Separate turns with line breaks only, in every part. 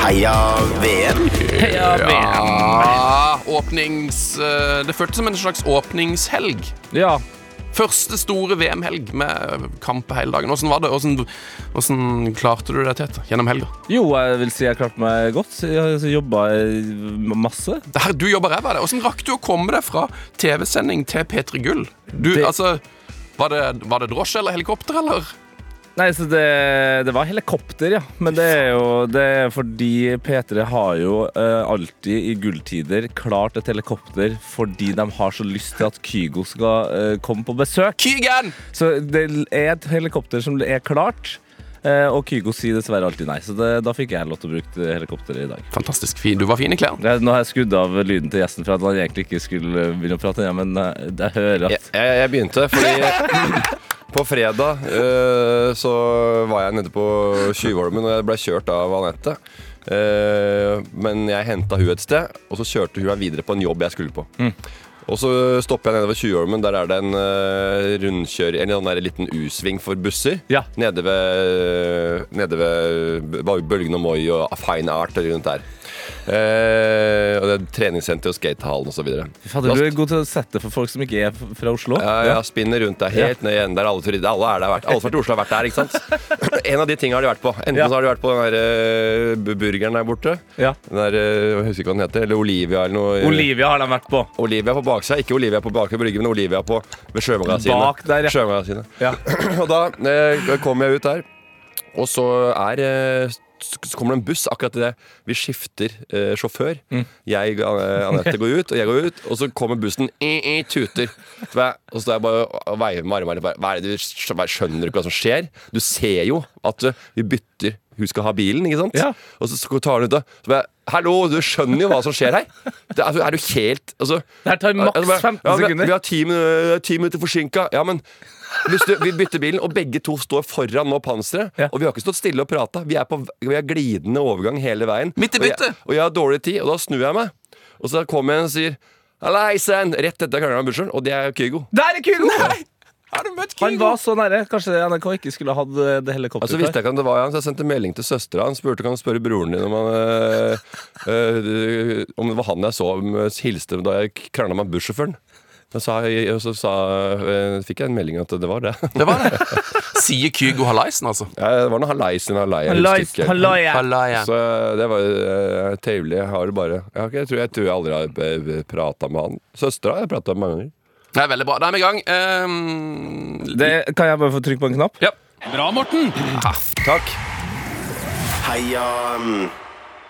Heia VM.
Heia VM.
Ja, åpnings... eh, Det føltes som en slags åpningshelg.
Ja.
Første store VM-helg med kamp hele dagen. Hvordan var det? Hvordan, hvordan klarte du det, Tete? Gjennom helga?
Jo, jeg vil si jeg klarte meg godt. Jeg jobba masse.
Det her, du jobber ræva av det. Hvordan rakk du å komme deg fra TV-sending til P3 Gull? Du,
Det-
altså, var det, var det drosje eller helikopter, eller?
Nei, så det, det var helikopter, ja. Men det er jo det er fordi P3 har jo eh, alltid i gulltider klart et helikopter fordi de har så lyst til at Kygo skal eh, komme på besøk.
Kygen!
Så det er et helikopter som er klart. eh, og Kygo sier dessverre alltid nei, så det, da fikk jeg lov til å bruke helikopteret i dag.
Fantastisk fin. Du var fin i klærne.
Jeg, nå har jeg skrudd av lyden til gjesten for at han egentlig ikke skulle begynne å prate, ja, men eh, jeg hører
Jeg,
at
jeg, jeg begynte fordi på fredag eh, så var jeg nede på Tjuvholmen og jeg ble kjørt av Anette. Eh, men jeg henta hun et sted, og så kjørte hun meg videre på en jobb jeg skulle på.
Mm.
Og så stopper jeg nede ved Tjuvholmen. Der er det en eh, rundkjør, en sånn der liten U-sving for busser.
Ja.
Nede ved, nede ved B- Bølgen og Moi og Fine Art og rundt der. Eh, og det er treningssenter og skatehallen osv.
Fy fader, du er god til å sette det for folk som ikke er f- fra Oslo.
Ja, ja, spinner rundt deg helt ned i enden der. Alle, turister- alle, er der, vært- alle som har vært i Oslo, har vært der. ikke sant? En av de tingene har de vært på. Enten
Ja.
så har de vært på den der eh, bu- burgeren der borte.
Ja.
Den der, eh, jeg husker ikke hva den heter. Eller Olivia eller noe.
Olivia har de vært på.
Olivia på baksida. Ikke Olivia på Baker brygge, men Olivia på ved sjømagasinet.
Bak der, ja.
Sjømagasinet.
Ja.
Og da eh, kom jeg ut der, og så er eh, så kommer det en buss akkurat idet vi skifter eh, sjåfør.
Mm.
Jeg eh, Anette går ut, og jeg går ut, og så kommer bussen i, i, tuter. Så jeg, og så står jeg bare og veiver med armene. Bare, hva er det du skj- hva- skjønner du ikke hva som skjer? Du ser jo at eh, vi bytter hun skal ha bilen, ikke sant?
Ja.
Og så sk- tar hun ut det. Så bare, Hallo, du skjønner jo hva som skjer her! Det, er- er du helt altså,
Det her tar maks
Altså, bare,
15
ja, vi-
sekunder.
Vi har ti, minu- ti minutter forsinka. Ja, men hvis du, vi bytter bilen, og begge to står foran nå panseret.
Ja.
Og vi har ikke stått stille og prata. Vi er på vi er glidende overgang hele veien.
Midt i
Og jeg,
byttet.
og jeg har dårlig tid, og da snur jeg meg. Og så kommer jeg og sier Hallaisen! Rett etter krangelen med bussjåføren, og det er Kygo.
Der er Kygo!
Har du møtt
Han
Kygo? Altså,
var så nære. Kanskje NRK ikke skulle hatt eh, det
Og så
helikopteret.
visste jeg ikke om det var han, så jeg sendte melding til søstera. Han spurte om han spørre broren din om, han, øh, øh, om det var han jeg så um, hilste da jeg krangla med bussjåføren. Og så, og så sa, øh, fikk jeg en melding at det var det.
Det var det. Sier Kygo Hallaisen, altså.
Ja, det var noe halaisen halaia.
Han lais- han lai- ja.
Hallaia.
Så det var uh, trivelig. Jeg har det bare ja, ok, jeg, tror, jeg tror jeg aldri har prata med han. Søstera har jeg prata med mange ganger.
Det er veldig bra. Da er vi i gang. Ehm,
Det, kan jeg bare få trykke på en knapp?
ja.
Takk.
Heia um,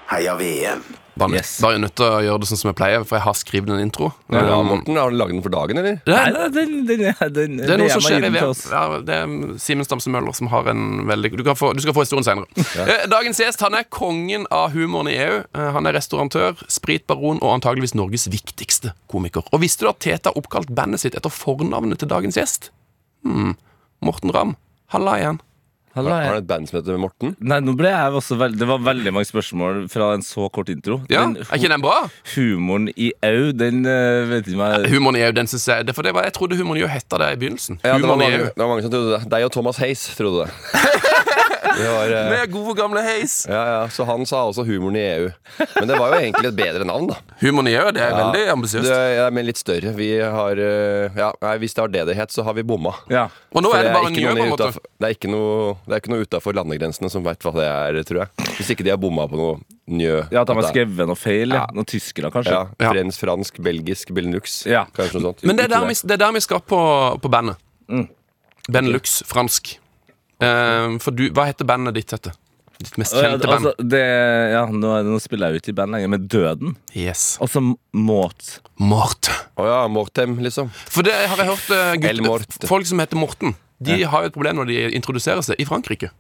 Heia VM.
Bare,
Yes.
bare nødt til å gjøre det sånn som jeg pleier, for jeg har skrevet en intro.
Ja,
Um,
Morten, har du lagd den for dagen, eller?
det, er,
Nei, den, den, den, den
det er noe som skjer i
VM.
VM. Ja, det er Simen Stamse Møller som har en veldig Du, kan få, du skal få historien senere. Eh, Dagens gjest han er kongen av humoren i EU. Eh, Han er restaurantør, spritbaron og antageligvis Norges viktigste komiker. Og visste du at Tete har oppkalt bandet sitt etter fornavnet til dagens gjest? Hmm. Morten Ramm. Halla igjen.
Hallo,
Har har
jeg.
han et band som heter Morten?
Nei, nå ble jeg også veld... Det var veldig mange spørsmål fra en så kort intro.
Ja,
Den
Er ikke den bra?
hu- humoren i au, den eh, vet ikke meg
Humoren i EU, den synes jeg det, For det var, jeg trodde humoren i EU hette det i begynnelsen.
Ja, det, var
Humoren i E
mange,
EU.
det var mange som trodde det. Deg og Thomas Hayes trodde det. det var, eh,
Med gode gamle heis.
ja, ja, så han sa også humoren i EU. Men det var jo egentlig et bedre navn, da.
Humoren i EU, det er veldig
Det,
ambisiøst.
ja, men litt større. Vi har eh, ja, nei, Hvis det var det det het, så har vi bomma.
Ja.
Og nå
For
er det bare
ikke
en nye,
noen
på en måte.
utenfor- Det er ikke noe, det er ikke noe utafor landegrensene som veit hva det er, tror jeg. Hvis ikke de har bomma på noe njø.
ja, at de har
At det er-
skrevet noe feil. Ja. Noen tyskere, kanskje.
ja,
Ja.
Frens, fransk, belgisk, belinux.
Ja.
Kanskje noe sånt.
Men det er
Ikke
der vi, det er der vi skal på, på bandet.
Mm.
Benelux, fransk. Eh, for du, hva heter bandet ditt, Tette? Ditt mest
Eh,
Og jeg-
kjente band?
Altså, det, ja, nå, er det- nå spiller jeg jo ikke i band lenger, men Døden.
Yes.
Altså Mort.
Mort.
Å ja, Mortem, liksom.
For det har jeg hørt eh,
El Morte.
gutter, folk som heter Morten. De har jo et problem når de introduserer seg i Frankrike.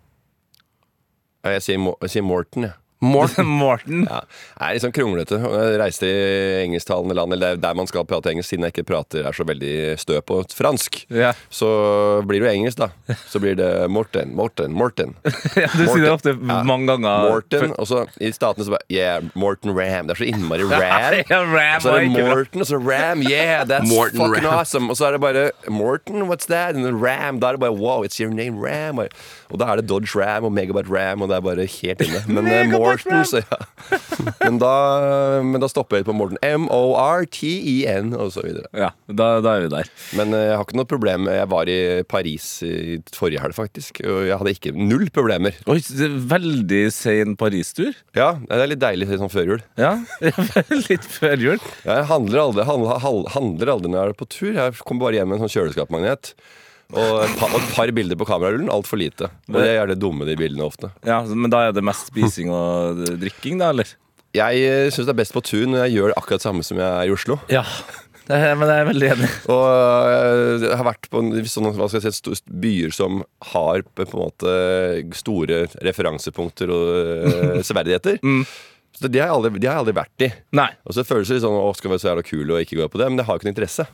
Ja, Jeg sier, Mo- jeg sier Morten, jeg.
Morten.
Morten.
Ja. Jeg er litt sånn kronglete. og Jeg reiste i engelsktalende land, eller der man skal prate engelsk, siden jeg ikke prater er så veldig stø på fransk.
Ja.
Så blir det jo engelsk, da. Så blir det Morten, Morten, Morten.
Ja, du sier det ofte
Ja.
mange ganger.
Morten, og så i statene så bare Yeah, Morten Ram. Det er så innmari ram.
Ja, Ram
Og så er det
var ikke bra.
Morten, og så Ram. Yeah, that's
Morten
fucking
Ram.
awesome. Og så er det bare Morten, what's that? And then Ram. Da er det bare wow, it's your name, Ram. Og da er det Dodge Ram og Megabyte Ram, og det er bare helt inne. Men eh,
Megabyte
Morten, så ja. Men da, men da stopper jeg på Morten. M-O-R-T-E-N og så videre.
Ja, da, da er vi der.
Men eh, jeg har ikke noe problem. Jeg var i Paris i forrige helg, faktisk. Og jeg hadde ikke null problemer.
Oi, det er veldig sein Paris-tur.
Ja, Det er litt deilig sånn før jul.
Ja, litt før jul.
Jeg handler aldri, handler, handler- handler aldri når jeg er på tur. Jeg kommer bare hjem med en sånn kjøleskapsmagnet. Og et par, og et par bilder på kamerarullen. Altfor lite. Og jeg er det dumme, de bildene ofte.
Ja, altså, Men da er det mest spising og drikking, da, eller?
Jeg syns det er best på tur når jeg gjør akkurat samme som jeg er i Oslo.
Ja, men jeg er veldig enig.
Og øh, jeg har vært på en- sånne, hva skal jeg si, sto- byer som har eh, på en måte store referansepunkter og øh, severdigheter. Så det har, jeg aldri, de har jeg aldri vært i.
Nei.
Og så føles det litt sånn Å, skal vi være så jævla kule og ikke gå på det? Men det har jo ikke noe interesse.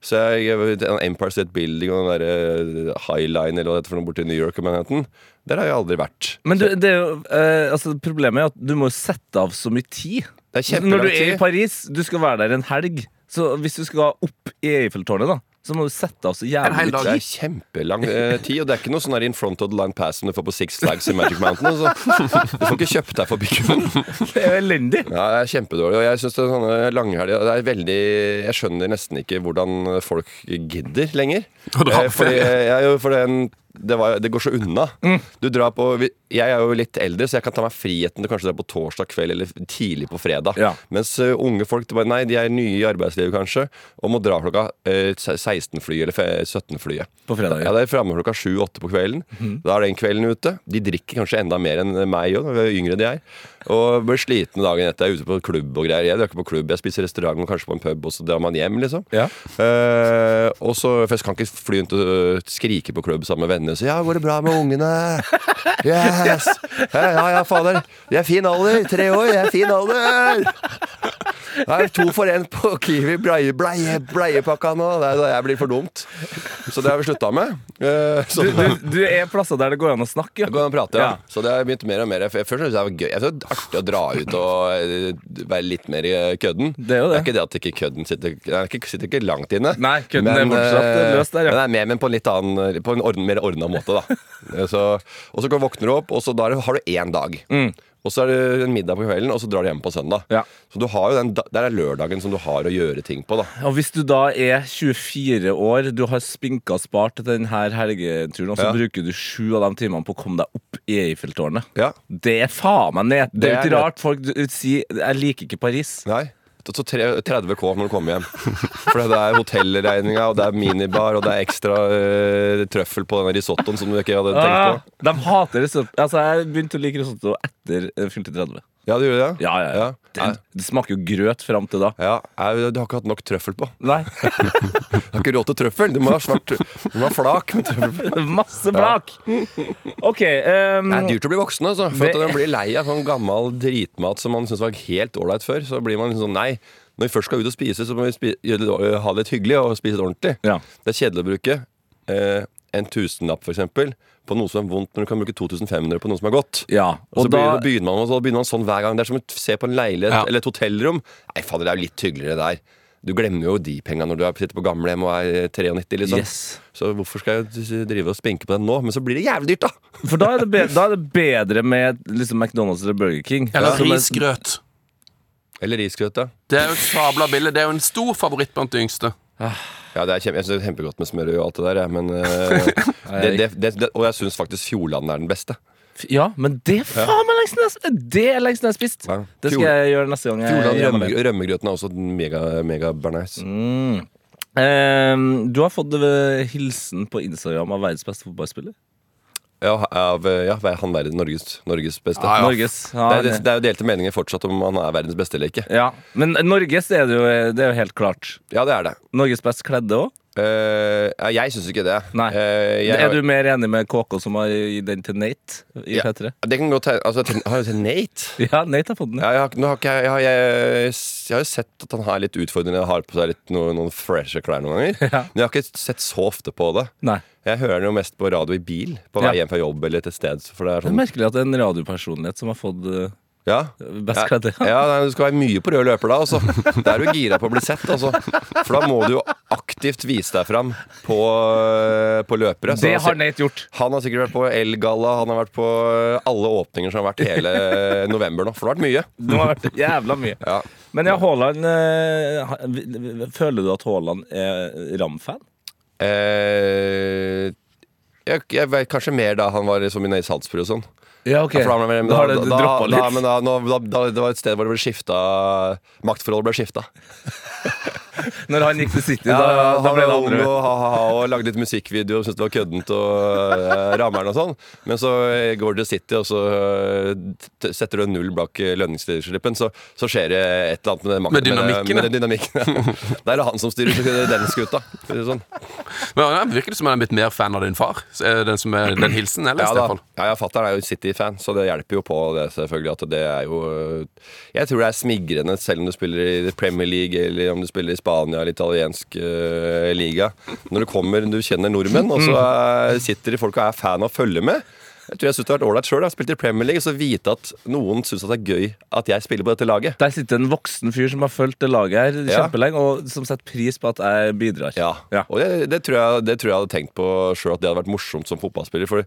Så jeg, jeg- Empire State Building og den derre Highline eller hva det heter for noe borti New York og Manhattan, der har jeg aldri vært.
Men du, det er jo, eh, altså, problemet er jo at du må jo sette av så mye tid.
Det er
Når du
kjempelang
er i
tid.
Paris, du skal være der en helg. Så hvis du skal opp i Eiffeltårnet, da, så må du sette av så
En hel
jævlig
dag.
mye
Det er kjempelang eh, tid, og det er ikke noe sånn der in front of the line pass som du får på Six Flags i Magic Mountain. Altså. Du får ikke kjøpt deg forbi kunden.
tid. Det er jo elendig.
Ja, det er kjempedårlig. Og jeg synes det er sånne langhelger det er veldig, Jeg skjønner nesten ikke hvordan folk gidder lenger.
Og dra på
Eh, Fordi,
ferie.
jeg, er jo- for den, det, var, det går så unna. Du drar på vi- Jeg er jo litt eldre, så jeg kan ta meg friheten til kanskje dra på torsdag kveld eller tidlig på fredag.
Ja.
Mens eh, unge folk det bare, nei, de er nye i arbeidslivet kanskje, og må dra klokka eh, 16-flyet eller 17-flyet.
På fredager.
Ja, det er framme klokka sju-åtte på kvelden. Da er den kvelden ute. De drikker kanskje enda mer enn meg òg, jo yngre de er. Og blir slitne dagen etter. Jeg er ute på klubb og greier. Jeg drar ikke på klubb, jeg spiser i restaurant og kanskje på en pub, og så drar man hjem, liksom.
Ja.
Eh, og så, for jeg kan ikke fly rundt og øh, skrike på klubb sammen med venner. Så ja, går det bra med ungene? Yes! Ja, ja, ja fader. De er fin alder. Tre år, de er fin alder! Det er to for én på Kiwi bleie, bleie, bleiepakka nå. Det er, jeg blir for dumt. Så det har vi slutta med. Eh, så
Du, du, du er plasser der det går an å snakke.
Gå
Ja.
og prate, ja.
Ja.
Så det har jeg begynt mer og mer. Jeg- Først syntes jeg det var gøy. Jeg synes det var artig å dra ut og eh, være litt mer i kødden.
Det er jo det.
ikke det at ikke kødden sitter Nei, ikke, sitter ikke langt inne.
Nei, kødden er fortsatt,
eh,
eh, løs der, ja.
Men, det er mer, men på en litt annen På en orden, mer ordna måte, da. Eh, så, og så kan- våkner du opp, og så da er det- har du én dag. Og så er det en middag på kvelden, og så drar du hjem på søndag.
Mm. Ja.
Så du har jo den, da- der er lørdagen som du har å gjøre ting på, da.
Og hvis du da er 24 år, du har spinka og spart til denne helgeturen, og så
Ja.
bruker du sju av de timene på å komme deg opp i Eiffeltårnet.
Ja.
Det er faen meg ned. Det er jo
Det
ikke
er
rart folk du- sier 'jeg liker ikke Paris'.
Nei. Så tre- 30 K når du kommer hjem. For det er hotellregninga, og det er minibar, og det er ekstra eh, trøffel på denne risottoen som du ikke hadde
Ah,
tenkt på.
de hater risotto. Altså, jeg begynte å like risotto etter eh, fylte 30.
Ja, du gjorde det?
Ja, ja, ja.
Ja.
Det, det smaker jo grøt fram til da.
Ja, jeg, Du har ikke hatt nok trøffel på.
Nei,
Du har ikke råd til trøffel. Du må ha svart Du må ha flak med trøffel. på.
masse blak! OK. ehm,
Det er dyrt å bli voksen, altså. For at
Det-
man blir lei av sånn gammel dritmat som man syntes var helt ålreit før. Så blir man liksom sånn nei. Når vi først skal ut og spise, så må vi spi gjøre det- ha det litt hyggelig og spise det ordentlig.
Ja.
Det er kjedelig å bruke eh, en tusenlapp, for eksempel, på noe som er vondt, når du kan bruke 2500 på noe som er godt.
ja.
Og, så
Og da
begynner, begynner man, og så begynner man sånn hver gang. Det er som å se på en leilighet
Ja.
eller et hotellrom. Nei, fader, det er jo litt hyggeligere der. Du glemmer jo de penga når du er- sitter på gamlehjem og er 93, liksom.
Yes.
Så hvorfor skal jeg drive og spinke på den nå? Men så blir det jævlig dyrt, da!
For da er det bedre, da er det bedre med liksom McDonald's eller Burger King.
Eller
Som er-
risgrøt.
Eller risgrøt, da.
Det er jo et sabla billig. Det er jo en stor favoritt blant de yngste.
Ja, det er kjempe, jeg synes det er kjempegodt med smør og alt det der, jeg, men eh, det, det, det, det, Og jeg syns faktisk Fjordland er den beste.
Ja, men det er faen meg lengst ned Det er lengst ned spist.
Ja.
Det skal jeg gjøre neste gang. jeg
Fjordland
er hjemme
rømme,
alene.
Rømmegrøten er også mega, mega bernice.
Ehm, du har fått eh, hilsen på Instagram av verdens beste fotballspiller.
Ja, av, eh, ja, han er Norges, Norges beste.
Ja, ja.
Norges. Ja,
Det, er, det er jo delte meninger fortsatt om han er verdens beste eller ikke.
Ja, Men Norges er det, jo, det er jo helt klart.
Ja, det er det.
Norges best kledde òg.
Eh, ja, jeg syns ikke det.
Nei.
Eh, jeg,
Er du mer enig med KK som har gitt den til Nate i
Ja.
P3?
Det kan godt hende. Altså, til- har jeg til Nate?
Ja, Nate har fått den.
Ja, jeg, har, ikke- nå har ikke, jeg, jeg, har- jeg, jeg har jo sett at han har litt utfordrende har på seg litt noen, noen freshe klær noen ganger.
Ja.
Men jeg har ikke sett så ofte på det.
Nei.
Jeg hører det jo mest på radio i bil på
Ja.
vei hjem fra jobb eller til sted. For det er
Det er
sånn,
merkelig at det er en radiopersonlighet som har fått eh,
Ja.
Best kledde.
Ja, nei, Du skal være mye på rød løper da. Altså. Da er du gira på å bli sett. Altså. For da må du jo aktivt vise deg fram på, eh, på løpere. Så
Det
han
har
si-
Nate gjort.
han har sikkert vært på Elgalla, han har vært på eh, alle åpninger som har vært hele eh, november nå. For det har vært mye.
Det har vært jævla mye.
Ja.
Men ja, Haaland eh, ha- vi- vi- Føler du at Haaland er Ram-fan?
Eh, jeg, jeg vet kanskje mer da han var liksom i Nøye Salzburg og sånn.
Ja, ok.
Ja, for da ble-
Da har det
da-
droppa
da-
litt.
men da- nå- da- da- Det var et sted hvor det ble skifta Maktforholdet ble skifta.
Når han gikk til City,
Ja,
da, da
han
ble det
var ung
andre.
og, ha-ha-ha og lagde litt musikkvideo og syntes det var køddent og eh, rammeren og sånn. Men så eh, går du til City, og så eh, t- setter du en null bak eh, lønningsslippen, så, så skjer det et eller annet med, den makten-
Med dynamikken,
Med, den dynamikken. ja. Da er det han som styrer den skuta. for å si det Sånn.
Men ja, Virker det som han er blitt mer fan av din far? Så er det Den som er den hilsen? Eller,
Ja, da.
Stefan?
ja, ja fatter'n er jo City-fan, så det hjelper jo på det, selvfølgelig. At det er jo Jeg tror det er smigrende, selv om du spiller i Premier League eller om du spiller i Spania eller italiensk eh, liga. Når du kommer, du kjenner nordmenn, og så eh, sitter de folk og er fan og følger med. Jeg tror jeg synes det har vært ålreit sjøl. Spilt i Premier League, så vite at noen syns det er gøy at jeg spiller på dette laget.
Der sitter en voksen fyr som har fulgt det laget her
Ja.
kjempelenge, og som setter pris på at jeg bidrar.
Ja, og det, det, tror jeg, det tror jeg hadde tenkt på sjøl at det hadde vært morsomt som fotballspiller. For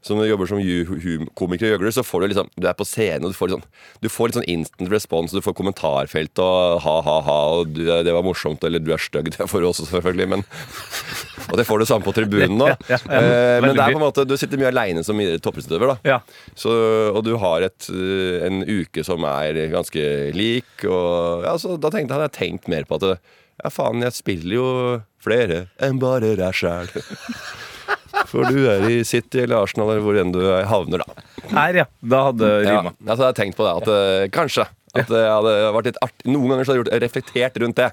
som du jobber som ju- hum- komiker og gjøgler, så får du liksom Du er på scenen, og du får, litt sånn, du får litt sånn instant respons. Du får kommentarfelt og ha-ha-ha, og du, det var morsomt, eller du er stygg. Det får du også, selvfølgelig, men Og det får du samme på tribunen nå.
Ja, ja, ja.
Eh, men det er
Veldig
på en måte Du sitter mye aleine som toppidrettsutøver, da.
Ja.
Så, og du har et, eh, en uke som er ganske lik, og ja, så da tenkte jeg, hadde jeg tenkt mer på at ja, faen, jeg spiller jo flere enn bare deg sjæl. For du er i City eller Arsenal eller hvor enn du er- havner, da.
Her, ja. Da hadde det
Ja,
rima.
altså, jeg har tenkt på det, at eh, kanskje at det hadde vært litt artig. Noen ganger så hadde jeg gjort, reflektert rundt det.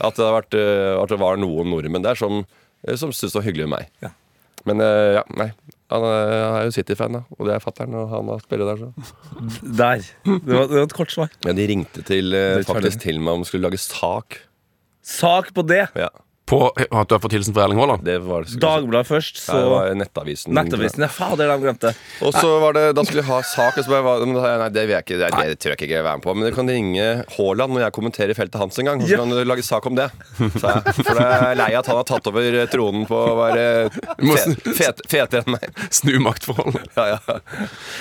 At det, hadde vært, eh, at det var noen nordmenn der som, eh, som syntes det var hyggelig med meg.
Ja.
Men eh, ja, nei. Han er, han er jo City-fan, da. Og det er fatter'n, og han har spiller der, så.
Der. Det var, det var et kort svar.
Ja, de ringte til, eh,
Det tar
faktisk til meg om de skulle lage sak.
Sak på det!
Ja,
På at du har fått hilsen fra Erling Haaland?
det var skulle-
Dagbladet først,
Nei, det
så
var Nettavisen.
Nettavisen. Ja, fader, de glemte det.
Og så var det, da skulle jeg ha sak, og så bare var- men da sa jeg, Nei, det vil jeg ikke, det, det tror jeg ikke jeg vil være med på. Men du kan ringe Haaland når jeg kommenterer i feltet hans en gang. Og så
Ja.
kan du lage sak om det. sa jeg. For jeg er lei av at han har tatt over eh, tronen på å være
må
fe- fet- fetere enn meg.
Snu maktforholdet.
Ja, ja.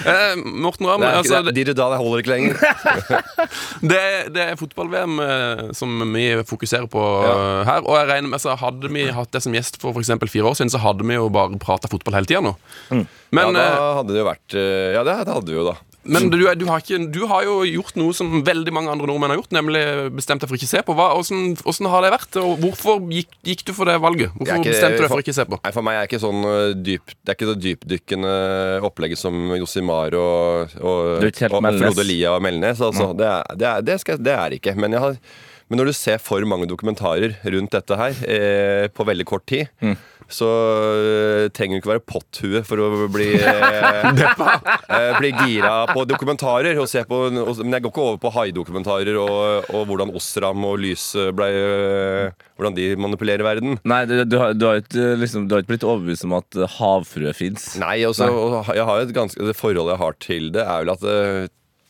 Eh, Morten Ramm,
Det er,
altså,
ikke- det, er, de jeg holder ikke lenger.
Det, det er fotball-VM eh, som vi fokuserer på eh, her. Og jeg regner med så Hadde vi hatt det som gjest for f.eks. fire år siden, så hadde vi jo bare prata fotball hele tida nå.
Mm. Ja,
Men, eh,
da hadde det jo vært eh, Ja, det, det hadde vi jo, da.
men du, er- du, har ikke, du har jo gjort noe som veldig mange andre nordmenn har gjort, nemlig bestemt deg for ikke se på. Hva, hvordan, hvordan har det vært? Og hvorfor gikk, gikk du for det valget?
Jeg er
Hvorfor
ikke-
bestemte du deg for ikke se på?
Nei, For meg er ikke sånn ø, dyp, det er ikke det dypdykkende opplegget som Josimar og, og,
Du er ikke helt
og, og
Melnes.
Frode Lia og Melnes. Altså, det, er, det, er, det, skal, jeg- det er ikke. Men, jeg har, men når du ser for mange dokumentarer rundt dette her eh, på veldig kort tid,
Mm.
så ø, trenger du ikke være potthue for å bli, eh, eh, bli gira på dokumentarer. Og se på, og, men jeg går ikke over på haidokumentarer og, og hvordan Osram og Lys eh, ble, ø, hvordan de manipulerer verden.
Nei, du, du, har, du, har ikke, liksom, du har ikke blitt overbevist om at eh, havfrue fins.
Nei, og så- og jeg har jo et ganske, det forholdet jeg har til det, er vel at det,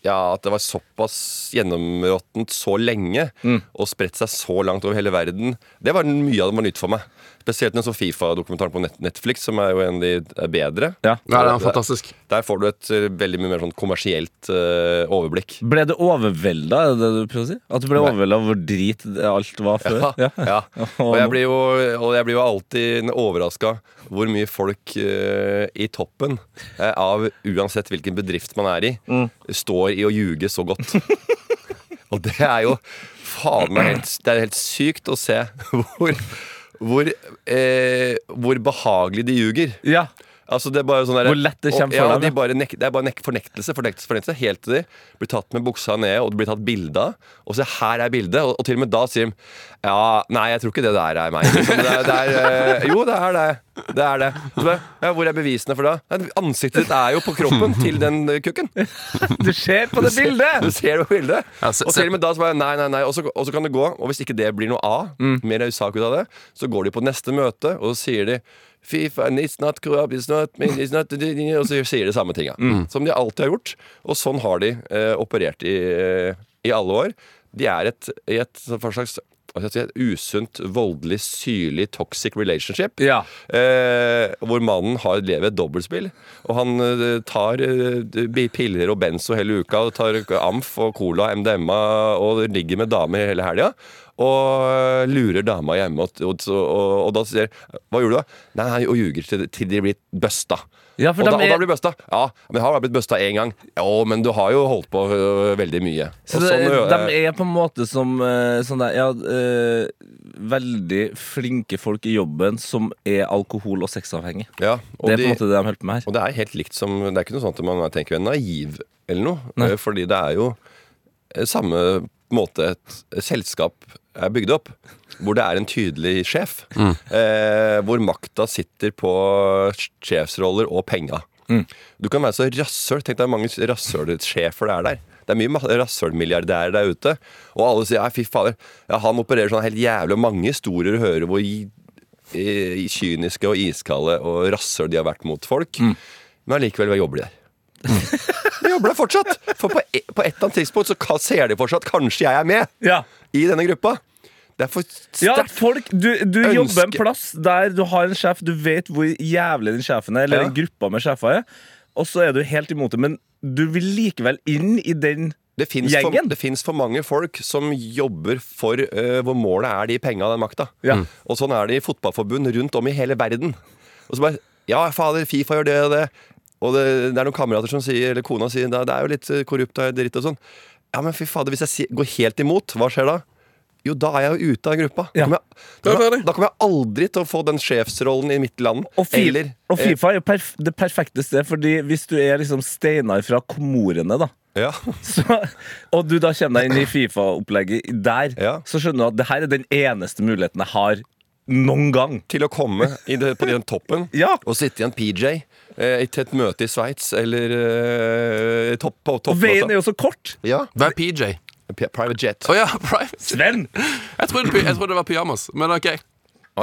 ja, at det var såpass gjennområttent så lenge, og spredt seg så langt over hele verden. Det var mye av det var nytt for meg. Spesielt den så Fifa-dokumentaren på Net- Netflix, som er jo en av de bedre.
Ja.
Nei, det er fantastisk.
Der får du et eh, veldig mye mer sånn kommersielt eh, overblikk.
Ble du overvelda, er det det du prøver å si? At du ble overvelda over hvor drit det- alt var før?
Ja, ja. Og
Og
jeg
nå-
blir jo, og jeg blir jo alltid overraska hvor mye folk eh, i toppen eh, av uansett hvilken bedrift man er i, står i å ljuge så godt. og det er jo faen meg helt, det er helt sykt å se hvor hvor, eh, hvor behagelig de ljuger.
Ja.
Altså det er bare sånn der,
Hvor lett det kommer
og-
for
ja,
dem,
De
ja.
bare nek, det er bare nek, fornektelse, fornektelse, fornektelse. Helt til de blir tatt med buksa ned, og det blir tatt bilde av. Og se, her er bildet. Og, og til og med da sier de Ja, nei, jeg tror ikke det der er meg. Liksom. Det er, det er, eh, jo, det er det. Det er det. Så, bare, ja, hvor er bevisene for det? Nei, Ansiktet ditt er jo på kroppen til den eh, kukken.
Du ser på det
Du
bildet!
ser det på bildet.
Ja, se-
og
se-
til og med da så bare nei, nei, nei. Og så, og så kan
Mm.
det gå. Og hvis ikke det blir noe av, mer sak ut av det, så går de på neste møte, og så sier de FIFA, it's not corrupt, it's not, it's not Og så sier de samme tinga.
Mm.
Som de alltid har gjort. Og sånn har de eh, operert i, eh, i alle år. De er et, i et sånn slags hva skal jeg si, et usunt, voldelig, syrlig, toxic relationship.
Ja.
Eh, hvor mannen har, lever et dobbeltspill. Og han eh, tar eh, bi- piller og benzo hele uka, og tar amf og cola og MDMA og ligger med dame hele helga. Og eh, lurer dama hjemme, og, og, og, og da sier Hva gjorde du, da? Nei, nei, og ljuger til, til de blir busta.
Ja, for
og, da,
de er-
og da blir busta. Ja, men jeg har bare blitt busta én gang. Ja, men du har jo holdt på øh, veldig mye.
Så
Og
det,
sånn, øh,
de er på en måte som eh, sånn der, ja, eh, veldig flinke folk i jobben som er alkohol- og sexavhengige.
ja, og
Det er på
de-
en måte det de holder på med her.
Og det er helt likt som Det er ikke noe sånt at man tenker en naiv eller noe. eh, Fordi det er jo eh, samme måte et selskap er bygd opp. Hvor det er en tydelig sjef. Eh, hvor makta sitter på sjefsroller og penga. Du kan være så rasshøl. Tenk deg hvor mange rasshølsjefer det er der. Det er mye ma- rasshølmilliardærer der ute. Og alle sier 'ja, fy fader', ja, han opererer sånn helt jævlig. Og mange historier du hører hvor i- i- kyniske og iskalde og rasshøl de har vært mot folk. Men allikevel, hva jobber de der? De jobber der fortsatt! For på, e på et eller annet tidspunkt så ka- ser de for seg at kanskje jeg er med
Ja.
i denne gruppa. Det er for sterkt.
Ja, folk, du, du
Ønske-
jobber en plass der du har en sjef, du vet hvor jævlig den sjefen er, eller
Ja.
den gruppa med sjefer er, og så er du helt imot det, men du vil likevel inn i den
Det fins for,
Gjengen?
det finnes for mange folk som jobber for eh, hvor målet er de penga og den makta.
Ja. Mm.
Og sånn er det i fotballforbund rundt om i hele verden. Og så bare Ja, fader, Fifa gjør det og det. Og det, det er noen kamerater som sier, eller kona sier, det, det er jo litt eh, korrupt og dritt og sånn. Ja, men fy fader, hvis jeg si, går helt imot, hva skjer da? Jo, da er jeg jo ute av gruppa.
Ja.
Da, kommer
Da
jeg,
er jeg
da, kommer
ferdig.
jeg, da kommer jeg aldri til å få den sjefsrollen i mitt land.
Og, fi
eller, eh,
og Fifa er jo perf det perfekte sted, fordi hvis du er liksom Steinar fra Komorene, da,
eh, ja.
så, og du da kommer deg inn i Fifa-opplegget der,
Ja.
så skjønner du at det her er den eneste muligheten jeg har noen gang.
til å komme i det, på den toppen
Ja.
og sitte i en PJ eh, til et møte i Sveits eller eh, topp, på
Og veien er
toppmøte.
jo så kort!
Ja.
Hva er PJ? Å
P- Private jet.
ja, private.
Sven!
Jeg trodde, py- jeg trodde det var pyjamas, men ok.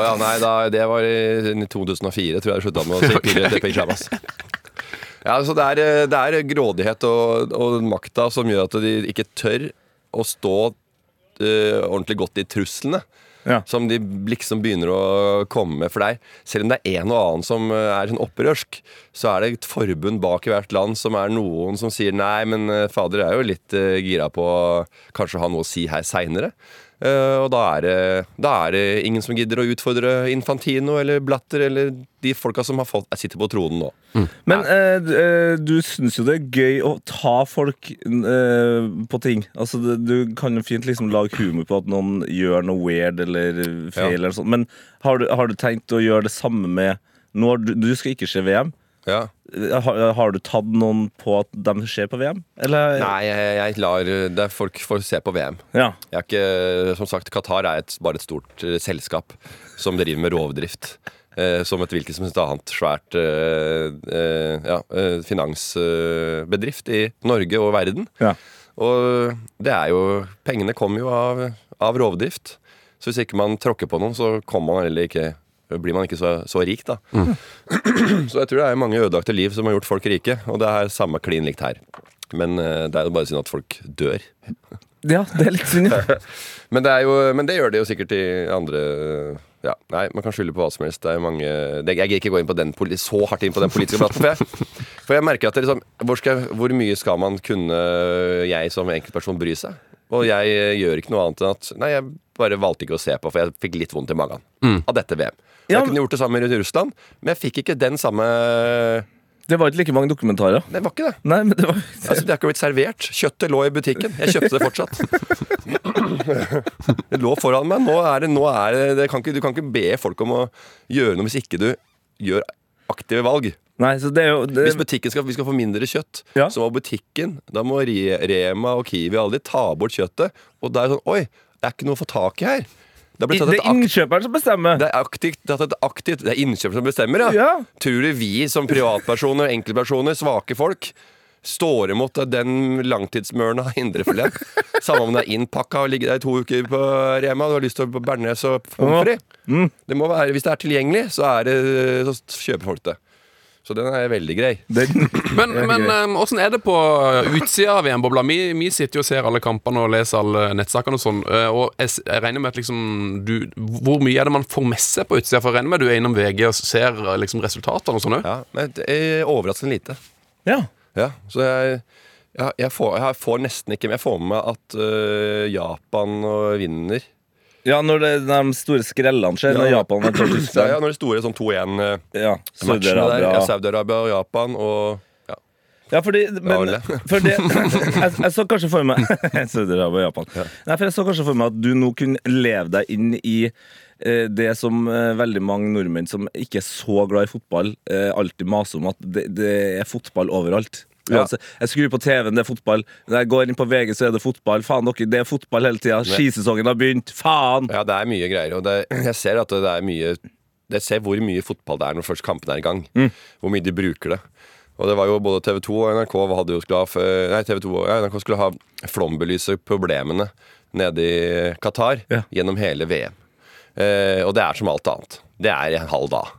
Å ja, nei, da, det var i 2004, tror jeg jeg slutta med å si PJ til pyjamas. Ja, så det er, eh, det er grådighet og, og makta som gjør at de ikke tør å stå eh, ordentlig godt i truslene.
Ja.
Som de liksom begynner å komme med for deg. Selv om det er en og annen som eh, er sånn opprørsk, så er det et forbund bak i hvert land som er noen som sier nei, men eh, fader jeg er jo litt eh, gira på å kanskje ha noe å si her seinere. og da er, det, da er det ingen som gidder å utfordre Infantino eller Blatter eller de folka som har fått, sitter på tronen nå.
Men eh, d- eh, du syns jo det er gøy å ta folk eh, på ting. Altså, det, du kan jo fint liksom lage humor på at noen gjør noe weird eller feil,
Ja.
eller sånt. men har du, har du tenkt å gjøre det samme med nå har du, du skal ikke se VM.
Ja.
Eh, Har, har du tatt noen på at de ser på VM? Eller?
Nei, jeg, jeg lar eh, det er folk får se på VM.
Ja.
Jeg er ikke, som sagt, Qatar er et, bare et stort eh, selskap som driver med rovdrift. Eh, som et hvilket som helst annet svært eh, eh, ja, eh, finansbedrift i Norge og verden.
Ja.
Og det er jo Pengene kommer jo av, av rovdrift. Så hvis ikke man tråkker på noen, så kommer man heller ikke blir man ikke så, så rik, da. Så jeg tror det er mange ødelagte liv som har gjort folk rike, og det er samme klin likt her. Men eh, det er jo bare synd at folk dør.
ja, det er litt synd. ja.
Men det, er jo, men det gjør det jo sikkert i andre ja, Nei, man kan skylde på hva som helst. Det er jo mange det, Jeg gir ikke gå inn på den poli, så hardt inn på den politiske debatten. For jeg, for jeg merker at det liksom, hvor, skal, jeg- hvor mye skal man kunne, jeg som enkeltperson, bry seg? Og jeg eh, gjør ikke noe annet enn at Nei, jeg bare valgte ikke å se på, for jeg fikk litt vondt i magen av dette VM.
Mm. Ja,
jeg
men-
kunne gjort det samme i Russland, men jeg fikk ikke den samme
Det var ikke like mange dokumentarer.
Det var ikke det.
Nei, men det var
Altså, det har ikke blitt servert. Kjøttet lå i butikken. Jeg kjøpte det fortsatt. Det lå foran meg. Nå er det, nå er det, det kan ikke, Du kan ikke be folk om å gjøre noe hvis ikke du gjør aktive valg.
Nei, så det er jo det,
Hvis butikken skal, vi skal få mindre kjøtt,
Eh, Ja.
så må butikken Da må Re- Rema og Kiwi og alle de ta bort kjøttet. Og det er sånn Oi, det er ikke noe å få tak i her. Det er
Det
blitt tatt
er
et akt
innkjøperen som bestemmer.
det er, aktivt, det, er et aktivt, det er innkjøperen som bestemmer, ja.
Ja.
Tror du vi som privatpersoner, enkeltpersoner, svake folk Står imot den langtidsmøren av indrefilet. Samme om den er innpakka og ligger der i to uker på Rema. Du har lyst til å på Bernes og pommes frites. Det må være- Hvis det er tilgjengelig, så, er det, så kjøper folk det. Så den er veldig grei.
Den,
Men, men um, åssen er det på eh, utsida av VM-bobla? Vi, vi sitter jo og ser alle kampene og leser alle nettsakene og sånn. eh, Og jeg, s- jeg regner med at liksom du, Hvor mye er det man får med seg på utsida? For jeg regner med du er innom VG og ser eh, liksom resultatene og sånn òg.
Ja, men det er Overraskende lite.
ja.
Ja, så jeg, jeg, jeg, får, jeg får nesten ikke Men jeg får med meg at øh, Japan øh, vinner.
ja, når det, de store skrellene skjer, når
Ja.
Japan har tatt
Så, ja,
Tyskland.
når det store sånn 2-1-matchene
Ja,
der. Ja,
Saudi-Arabia.
Saudi-Arabia og Japan og ja.
Ja, fordi, men,
Ole.
for det, jeg, jeg så kanskje for meg Saudi-Arabia og Japan. Nei, for jeg så kanskje for meg at du nå kunne leve deg inn i eh, det som eh, veldig mange nordmenn som ikke er så glad i fotball, eh, alltid maser om, at det, det er fotball overalt.
Ja.
Altså, jeg skrur på TV-en, det er fotball. Når jeg går inn på VG, så er det fotball. Faen dere, det er fotball hele tida. Skisesongen har begynt. Faen!
ja, det er mye greier. Og det, jeg ser at det er mye Jeg ser hvor mye fotball det er når først kampen er i gang.
Mm.
Hvor mye de bruker det. Og det var jo både TV 2 og NRK hadde jo skulle ha, f- nei, TV 2, og- ja, NRK skulle ha flombelyse problemene nede i Qatar
Ja.
gjennom hele VM. Eh, og det er som alt annet. Det er en halv dag.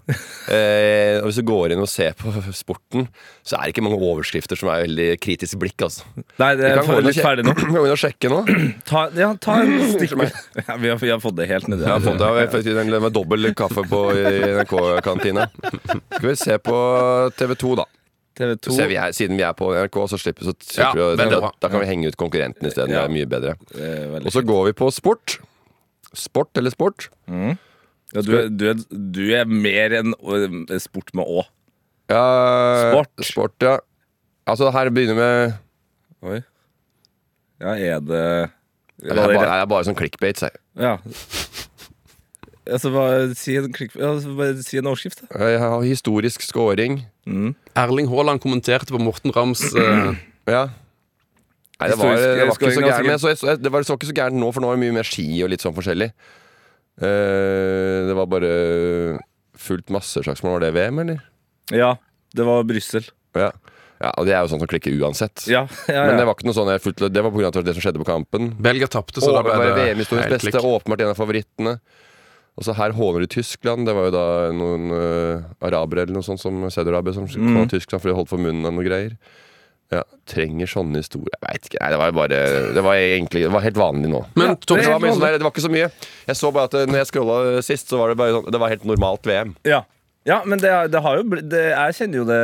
Eh, og hvis du går inn og ser på sporten, så er det ikke mange overskrifter som er veldig kritisk blikk. Altså.
Nei, det
Du
jeg
kan gå
får
inn og
litt
sje-
ferdig nå.
Du kan gå inn og sjekke nå.
Ta, ja, ta en stikk. Ja, vi, har, vi har fått det helt nedi.
Ja, fått det, jeg fikk den med dobbel kaffe på i NRK-kantina. Skal vi se på TV 2, da.
TV 2.
Så vi er, siden vi er på NRK, så slipper, så
Ja,
slipper vi å-
veldig
da,
bra.
da kan vi henge ut konkurrenten isteden.
Ja.
Det er mye bedre.
Eh, veldig
Og så går vi på sport. Sport eller sport?
Ja, du, er- du, er, du er mer enn ø, sport med å.
Ja,
Sport.
Sport, ja. Altså, her begynner med
Oi. Ja, er det
Det er bare, det er bare sånn clickbait, sier jeg.
Ja. Altså, bare si en, klikk, ja, altså, bare si en overskrift, da.
jeg. har Historisk scoring.
Erling Haaland kommenterte på Morten Rams eh,
Ja. Nei, det var,
Historisk
det var
scoring,
ikke så
ganske
gærent. Men jeg så, jeg, det var så ikke så gærent nå, for nå er det mye mer ski og litt sånn forskjellig. Eh, det var bare fullt masseslagsmål. Var det VM, eller?
Ja, det var Brussel.
Ja. ja. Og det er jo sånn som klikker uansett.
Ja, ja,
Men
ja.
det var ikke noe sånn jeg fulgte, Det var pga. det som skjedde på kampen.
Belgia tapte, så
Og
da
det
ble
var
det
VM-historiens
helt
beste.
klikk.
Åpenbart en av favorittene. Og så her håner de Tyskland. Det var jo da noen eh, arabere eller noe sånt som Saudi-Arabia som
Mm.
skulle håne Tyskland fordi de holdt for munnen av noe greier. Ja, Trenger sånne historier Jeg veit ikke. Nei, det var jo bare Det var egentlig Det var helt vanlig nå.
Men
det,
Thomas,
var mye sånn der, det var ikke så mye. Jeg så bare at eh, når jeg scrolla sist, så var det bare sånn Det var helt normalt VM.
Ja, ja men det, er- det har jo blitt det, Jeg kjenner jo det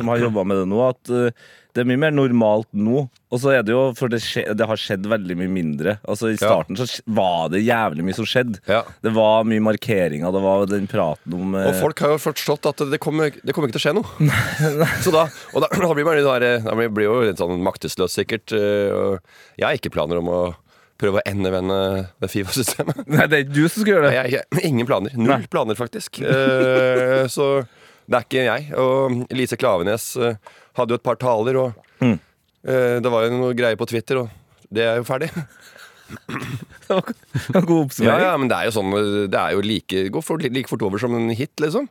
som har jobba med det nå, at eh, det er mye mer normalt nå. Og så er det jo, For det, skje, det har skjedd veldig mye mindre. Altså I starten så skj- var det jævlig mye som skjedde.
Ja.
Det var mye markeringer, det var den praten om eh,
Og folk har jo forstått at det kommer, det kommer ikke til å skje noe. Så da, og da, da blir man litt der, da blir- blir jo litt sånn maktesløs, sikkert. eh, Og jeg har ikke planer om å prøve å endevende det Fifa-systemet.
Nei, det er ikke du som skal gjøre det.
Jeg, jeg, ingen planer. Null
Nei.
planer, faktisk. Eh, Så det er ikke jeg. Og Lise Klavenes eh, hadde jo et par taler, og
Mm.
eh, det var jo noe greier på Twitter, og det er jo ferdig.
Det var det var god
Ja,
oppsummering.
ja, men det er jo sånn Det er jo like, går fort, like fort over som en hit, liksom.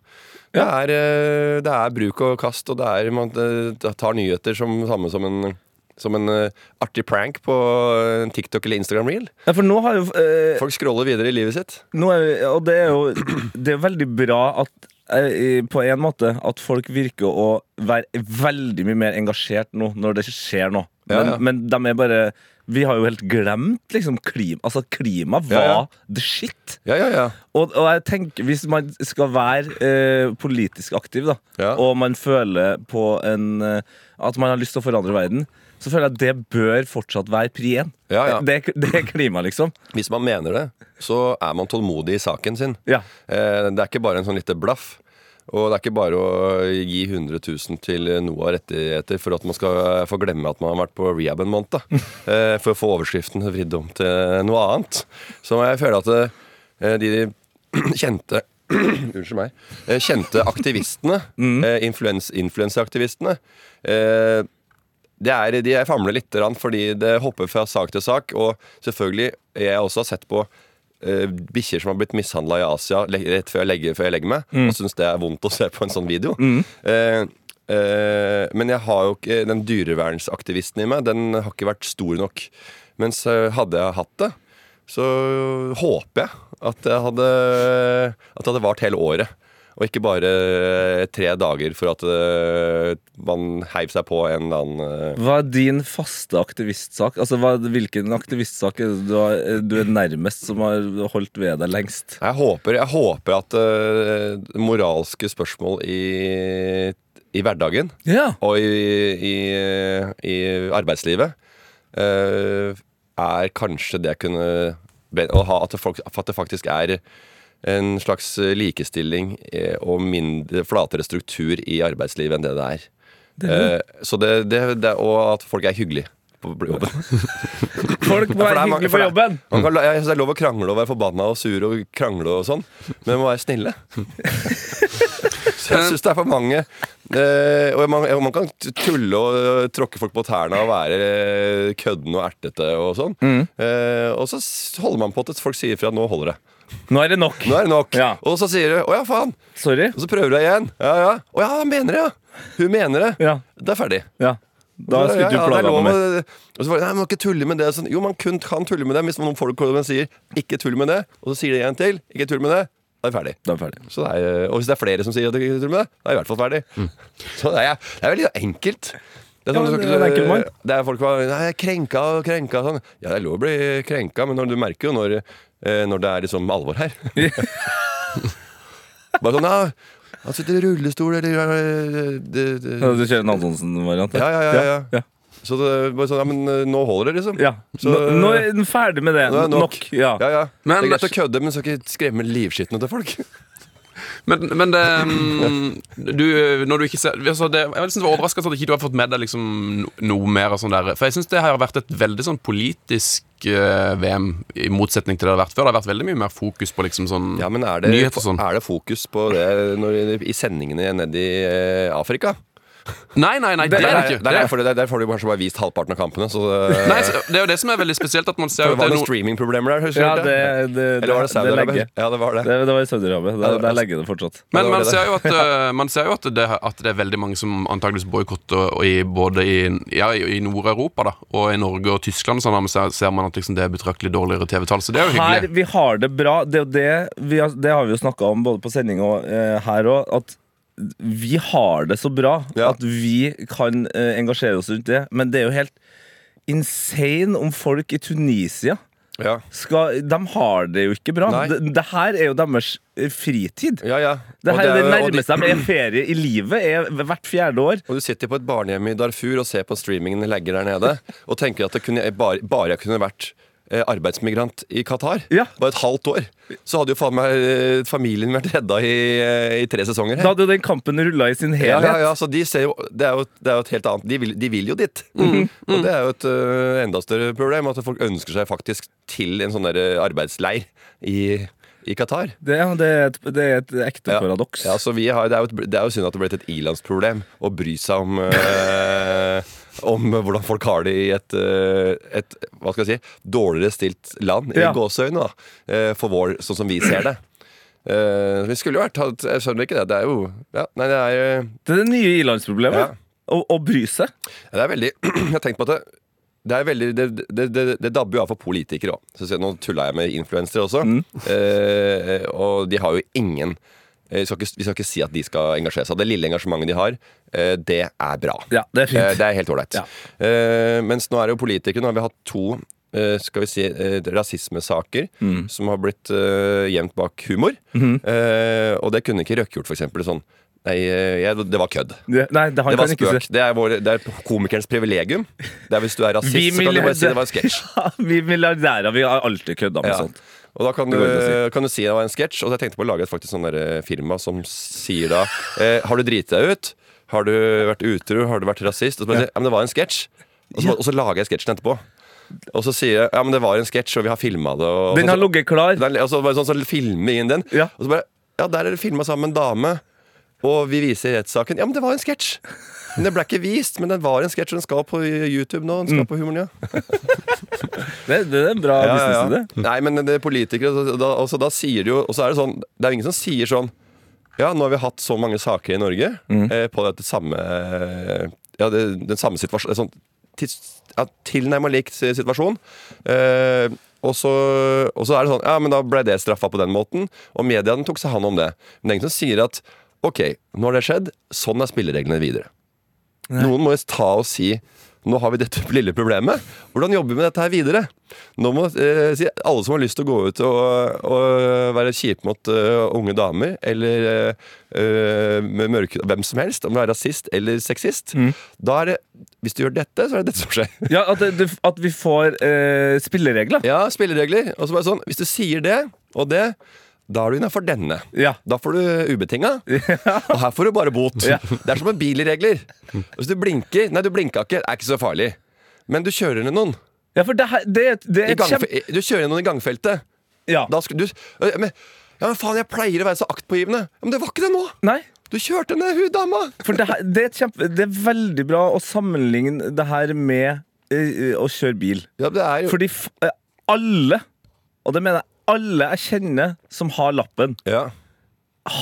Det er, eh, det er bruk og kast, og det er man eh, tar nyheter som samme som en som en eh, artig prank på eh, en TikTok eller Instagram-reel.
Ja, for nå har jo eh,
Folk scroller videre i livet sitt.
nå er, vi- Og det er jo Det er veldig bra at eh, i- på en måte at folk virker å være veldig mye mer engasjert nå, når det skjer noe. Men,
Ja, ja.
men de er bare Vi har jo helt glemt liksom klima. Altså, klima var
Ja, ja.
the shit.
Ja, ja, ja.
Og, og jeg tenker, hvis man skal være eh, politisk aktiv, da,
Ja.
og man føler på en eh, At man har lyst til å forandre verden, så føler jeg at det bør fortsatt være pri én.
Ja, ja.
Det, er- det er klima, liksom.
Hvis man mener det, så er man tålmodig i saken sin.
Ja.
Eh, Det er ikke bare en sånn lite blaff. Og det er ikke bare å gi 100 000 til noe av rettigheter for at man skal få glemme at man har vært på rehab en måned. da. Eh, For å få overskriften vridd om til noe annet. Så jeg føler at eh, de kjente Unnskyld meg. eh, Kjente aktivistene, eh, influens, influenseaktivistene, eh, det er, de jeg famler litt grann, fordi det hopper fra sak til sak. Og selvfølgelig, jeg også har sett på uh, bikkjer som har blitt mishandla i Asia le- rett før jeg legger, før jeg legger meg, og syns det er vondt å se på en sånn video. Eh, Eh, men jeg har jo ikke den dyrevernsaktivisten i meg. Den har ikke vært stor nok. Mens eh, hadde jeg hatt det, så håper jeg at jeg hadde At det hadde vart hele året. Og ikke bare eh, tre dager for at eh, man heiv seg på en eller annen eh,
Hva er din faste aktivistsak? Altså, hva, Hvilken aktivistsak er det du, har, du er nærmest som har holdt ved deg lengst?
Jeg håper, jeg håper at eh, moralske spørsmål i, i hverdagen
Ja.
og i, i, i arbeidslivet eh, er kanskje det jeg kunne be- å ha, at, det folk, at det faktisk er en slags likestilling eh, og mindre, flatere struktur i arbeidslivet enn det det er. Eh, så det, det, det, og at folk er hyggelige. På på jobben.
Folk må
For det
være
er mange-
hyggelige på
for det-
jobben!
Man kan, la- jeg synes det er lov å krangle og være forbanna og sur og krangle og sånn, men man må være snille. Så jeg syns det er for mange eh, Og man, og man kan t- tulle og eh, tråkke folk på tærne og være eh, kødden og ertete og sånn.
Mm.
Eh, og så s- holder man på til folk sier fra at 'nå holder det'.
Nå er det nok.
Nå er det nok.
Ja.
Og så sier du 'å ja, faen'.
Sorry.
Og så prøver du igjen. Ja, ja. 'Å ja, han mener det', ja. Hun mener det.
Ja.
Det er ferdig.
ja. Da
Ja,
skulle
ja,
du
det er
plaga
lov
meg mer.
å- Og så var det, nei, man må ikke tulle med det. Sånn, jo, man kun kan tulle med det hvis noen folk kommer og sier 'ikke tull med det', og så sier de en til 'ikke tull med det', da er vi ferdig.
Da er vi ferdig.
Så det er, og hvis det er flere som sier at de ikke tull med det, da er vi i hvert fall ferdig. Så det er, det er veldig enkelt. Det er,
Mm. Ja, men det er en enkel mann.
det er folk som er nei, jeg er krenka og krenka. Sånn. Ja, det er lov å bli krenka, men når, du merker jo når, eh, når det er liksom alvor her. Bare sånn ja, Han sitter i rullestol, eller eh, det, det,
Ja, Du kjører en Antonsen-variant?
ja, ja, ja, ja.
ja.
Så det er bare sånn, ja, men eh, nå holder det, liksom.
Ja.
Så-
nå, nå er den ferdig med det.
Nå er det
nok. Ja.
Ja, ja.
Men-
det er greit å kødde, men skal ikke skremme livskitten ut av folk.
Men, men det, mm, du, når du ikke ser altså det, Jeg synes det var overraskende at ikke du har fått med deg liksom no- noe mer. Og sånn der. For jeg synes det har vært et veldig sånn politisk eh, VM, i motsetning til det det har vært før. Det har vært veldig mye mer fokus på liksom sånn
Ja, men er det,
nyheter og sånn.
er det fokus på det når, i sendingene ned i eh, Afrika?
Nei, nei, nei, det, er det ikke.
Der,
Det
er-
er,
for det- der, der får du kanskje bare vist halvparten av kampene. Så eh, det,
nei, så det er jo det som er veldig spesielt. At man ser
det
at det
var
er
noen
noen
streamingproblemer der. husker
Ja,
du
det, det, det,
Eller var det
det legger.
Saudi-Arabia? Ja, det var det.
Det, det var i Saudi-Arabia.
Ja,
Der,
det var-
der legger det fortsatt.
Ja,
Men
det var
man
det.
ser jo at, eh, man ser jo at, det, at det er veldig mange som antakeligvis boikotter og i, både i, ja, i i Nord-Europa da, og i Norge og Tyskland. og Sånn, men ser, ser man at liksom, det er betraktelig dårligere TV-tall, så det er jo
Her,
hyggelig.
vi har det bra. Det, er jo det, vi har, det har vi jo snakka om både på sending og eh, her òg. At vi har det så bra
Ja.
at vi kan eh, engasjere oss rundt det. Men det er jo helt insane om folk i Tunisia
Ja.
skal, De har det jo ikke bra.
Nei.
Det, det her er jo deres eh, fritid.
ja, ja.
Det,
Og
her,
er
det,
jo- og de-
nærmeste de er ferie i livet, er hvert fjerde år.
Og du sitter på et barnehjem i Darfur og ser på streamingen legger der nede, og tenker at det kunne, bare, bare jeg kunne vært eh, arbeidsmigrant i Qatar,
Ja.
bare et halvt år, så hadde jo faen meg eh, familien vært redda i, eh, i tre sesonger.
Da hadde jo den kampen rulla i sin
ja,
helhet.
ja, ja, så de ser jo, det, er jo, det er jo et helt annet De vil, de vil jo dit.
Mhm.
Mm.
Mm.
Og det er jo et eh, enda større problem, at folk ønsker seg faktisk til en sånn der eh, arbeidsleir i, i Qatar.
Det, er- det, er et, det er et ekte
Ja.
paradoks.
Ja, så vi har, det, er jo et, det er jo synd at det ble til et ilandsproblem å bry seg om, eh, om hvordan folk har det i et, eh, et hva skal jeg si, dårligere stilt land, i
Ja.
gåseøyne, da, eh, for vår, sånn som vi ser det. Eh, vi skulle jo vært hatt- Jeg skjønner ikke det. Det er jo ja, Nei, det er, eh,
Det er det nye i-landsproblemet.
Ja.
Å, å bry seg.
det er veldig Jeg har tenkt på at det det, er veldig, det, det, det, det dabber jo av for politikere òg. Nå tulla jeg med influensere også.
Mm.
Eh, og de har jo ingen eh, vi skal, ikke, vi skal ikke si at de skal engasjere seg. Det lille engasjementet de har, eh, det er bra.
Ja, det er
Eh,
fint.
Det er helt ålreit.
Ja.
Eh, mens nå er det jo politikere. Nå har vi hatt to eh, skal vi si eh, rasismesaker
Mm.
som har blitt eh, gjemt bak humor.
Mm-hmm.
Eh, og det kunne ikke Røkke gjort, for eksempel. Sånn. Nei, eh, jeg, det var kødd.
Det- Nei, det, han
Det var
kan ikke
spøk.
si
Det er, vår, det er komikerens privilegium. Det er Hvis du er rasist,
Vi
så kan du bare si
milliarder-
det var en sketsj.
Vi milliardærer vi har alltid kødda med
Ja.
sånt.
Og da kan du,
går ikke
kan du si det var en sketsj. Og jeg tenkte på å lage et faktisk sånn der, eh, firma som sier da eh, Har du driti deg ut? Har du vært utro? Har du vært rasist? Og så bare sier jeg, ja, men det var en sketsj. Og, så- og så lager jeg sketsjen etterpå. Og så sier jeg ja, men det var en sketsj, og vi har filma det. Og,
Den
og så-
har ligget klar.
Den- Og så bare sånn, så filme inn den.
Ja.
Og så bare Ja, der er det filma sammen med en dame, og vi viser rettssaken. Ja, men det var en sketsj! Men det ble ikke vist, men den var en sketsj, og den skal på YouTube nå. Den skal
Mm.
på humoren, ja.
Det, det er en bra
Ja, ja, ja.
businessidé.
Nei, men det er politikere, så da, og så da sier de jo Og så er det sånn Det er jo ingen som sier sånn Ja, nå har vi hatt så mange saker i Norge eh, på dette samme eh, Ja, det, den samme situasjonen sånn, tids- ja, Tilnærma lik si- situasjon. Eh, og så, og så er det sånn Ja, men da ble det straffa på den måten. Og mediene tok seg hånd om det. Men det er ingen som sier at OK, nå har det skjedd. Sånn er spillereglene videre. Noen må jo ta og si nå har vi dette lille problemet. Hvordan jobber vi med dette her videre? Nå må eh, si, Alle som har lyst til å gå ut og, og være kjipe mot eh, unge damer, eller eh, eh, med mørke, hvem som helst, om du er rasist eller sexist Da er det Hvis du gjør dette, så er det dette som skjer.
Ja, At, det- det, at vi får eh, spilleregler.
Ja, spilleregler. Og så bare sånn Hvis du sier det og det, da er du innafor denne.
Ja.
Da får du ubetinga, og her får du bare bot.
Ja.
Det er som med bilregler. Hvis du blinker Nei, du blinka ikke, det er ikke så farlig. Men du kjører ned noen.
Ja, for det, her- det, er et- det er
I
et kjempe...
gangfe- du kjører ned noen i gangfeltet.
Ja.
Da skal du Øh, men, Ja, men faen, jeg pleier å være så aktpågivende. Ja, Men det var ikke det nå!
Nei,
Du kjørte ned hun dama!
for det, her, det, er et kjempe, det er veldig bra å sammenligne det her med eh, å kjøre bil.
Ja, det er jo
Fordi f eh, alle, og det mener jeg alle jeg kjenner som har lappen,
ja.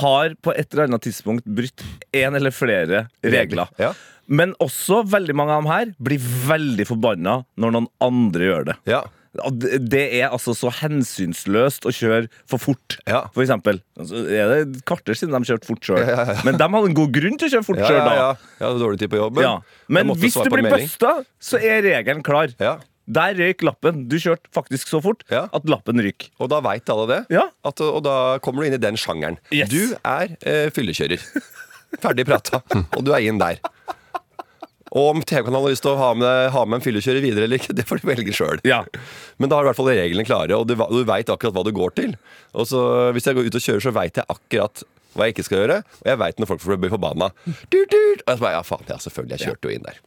har på et eller annet tidspunkt brutt én eller flere regler.
Ja.
Men også veldig mange av dem her blir veldig forbanna når noen andre gjør det.
Ja.
Og det- Det er altså så hensynsløst å kjøre for fort,
Ja.
for eksempel. Altså, er det et kvarter siden de kjørte fort sjøl. Men de hadde en god grunn til å kjøre fort
Ja,
sjøl
ja,
da.
ja. Jeg hadde dårlig tid på jobben.
Ja.
Jeg
Men
måtte
hvis
svare
du
på en
blir
melding.
busta, så er regelen klar.
Ja.
Der røyk lappen. Du kjørte faktisk så fort
Ja.
at lappen ryker.
Og da veit alle det.
Ja.
At, og da kommer du inn i den sjangeren.
Yes.
Du er eh, fyllekjører. Ferdig prata. og du er inn der. Og om TV-kanalen har lyst til å ha med, ha med en fyllekjører videre eller ikke, det får de velge sjøl.
Ja.
Men da har du i hvert fall reglene klare, og du, va- du veit akkurat hva du går til. Og så Hvis jeg går ut og kjører, så veit jeg akkurat hva jeg ikke skal gjøre. Og jeg veit når folk blir forbanna. Tut, tut. Og jeg så bare, ja faen, ja selvfølgelig, jeg kjørte jo inn der.